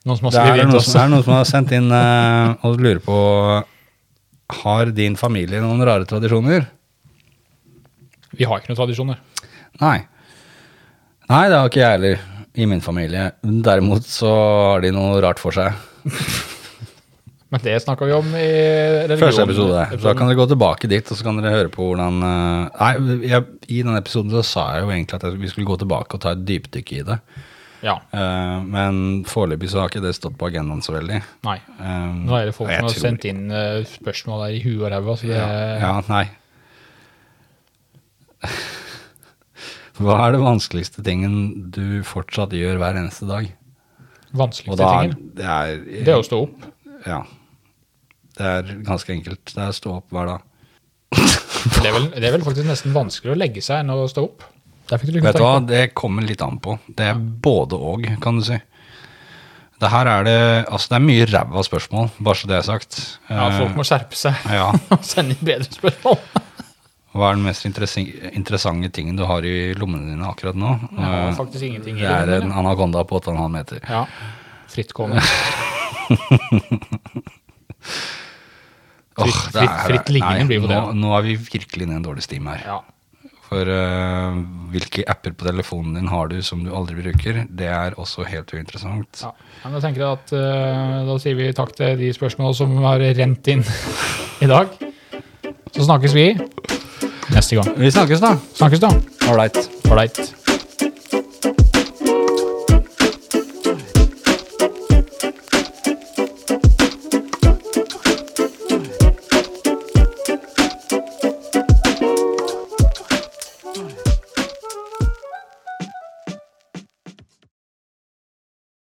S1: Noen som har
S2: Det er,
S1: skrevet inn til
S2: noen
S1: oss.
S2: som, er noen som har sendt inn eh, og lurer på Har din familie noen rare tradisjoner?
S1: Vi har ikke noen tradisjoner.
S2: Nei. Nei, det har ikke jeg heller i min familie. Derimot så har de noe rart for seg.
S1: Men det snakka vi om i religion.
S2: Første episode. Da kan dere gå tilbake dit, og så kan dere høre på hvordan eh, Nei, jeg, i den episoden så sa jeg jo egentlig at jeg- vi skulle gå tilbake og ta et dypdykk i det.
S1: Ja.
S2: Eh, men foreløpig så har ikke det stått på agendaen så veldig.
S1: Nei.
S2: Eh,
S1: Nå er det folk
S2: jeg
S1: som har
S2: tror-
S1: sendt eh, inn eh, spørsmål der i huet og ræva. så det-
S2: Ja, nei. (laughs) Hva er det vanskeligste tingen du fortsatt gjør hver eneste dag? Og
S1: Vanskeligste
S2: da er,
S1: tingen.
S2: det er,
S1: Det er å stå opp.
S2: Ja. Det er ganske enkelt. Det er stå opp hver dag.
S1: Det er, vel, det er vel faktisk nesten vanskeligere å legge seg enn å stå opp. Der fikk du liksom
S2: Vet du hva,
S1: tenke.
S2: det kommer litt an på. Det er både og, kan du si. Det her er det Altså, det er mye ræva spørsmål, bare så det er sagt.
S1: Ja,
S2: Eh,
S1: folk må skjerpe seg
S2: ja.
S1: (laughs) og sende inn
S2: (laughs)
S1: bedre spørsmål.
S2: Hva er den mest interessi- interessante tingen du har i lommene dine akkurat nå?
S1: Jeg har
S2: Eh,
S1: faktisk ingenting i
S2: Det er
S1: det.
S2: en anakonda på 8,5 meter.
S1: Ja. Frittgående.
S2: (laughs) Åh,
S1: Fritt-
S2: det er-
S1: fritt- fritt liggende
S2: nei,
S1: blir jo det,
S2: Nå,
S1: da.
S2: nå er vi virkelig inne i en dårlig steam her.
S1: Ja.
S2: For eh, hvilke apper på telefonen din har du som du aldri bruker? Det er også helt uinteressant.
S1: Ja. Men da tenker jeg at eh, da sier vi takk til de spørsmål som har rent inn (laughs) i dag. Så snakkes vi neste gang.
S2: Vi snakkes, da.
S1: Snakkes, da.
S2: Ålreit.
S1: Ålreit.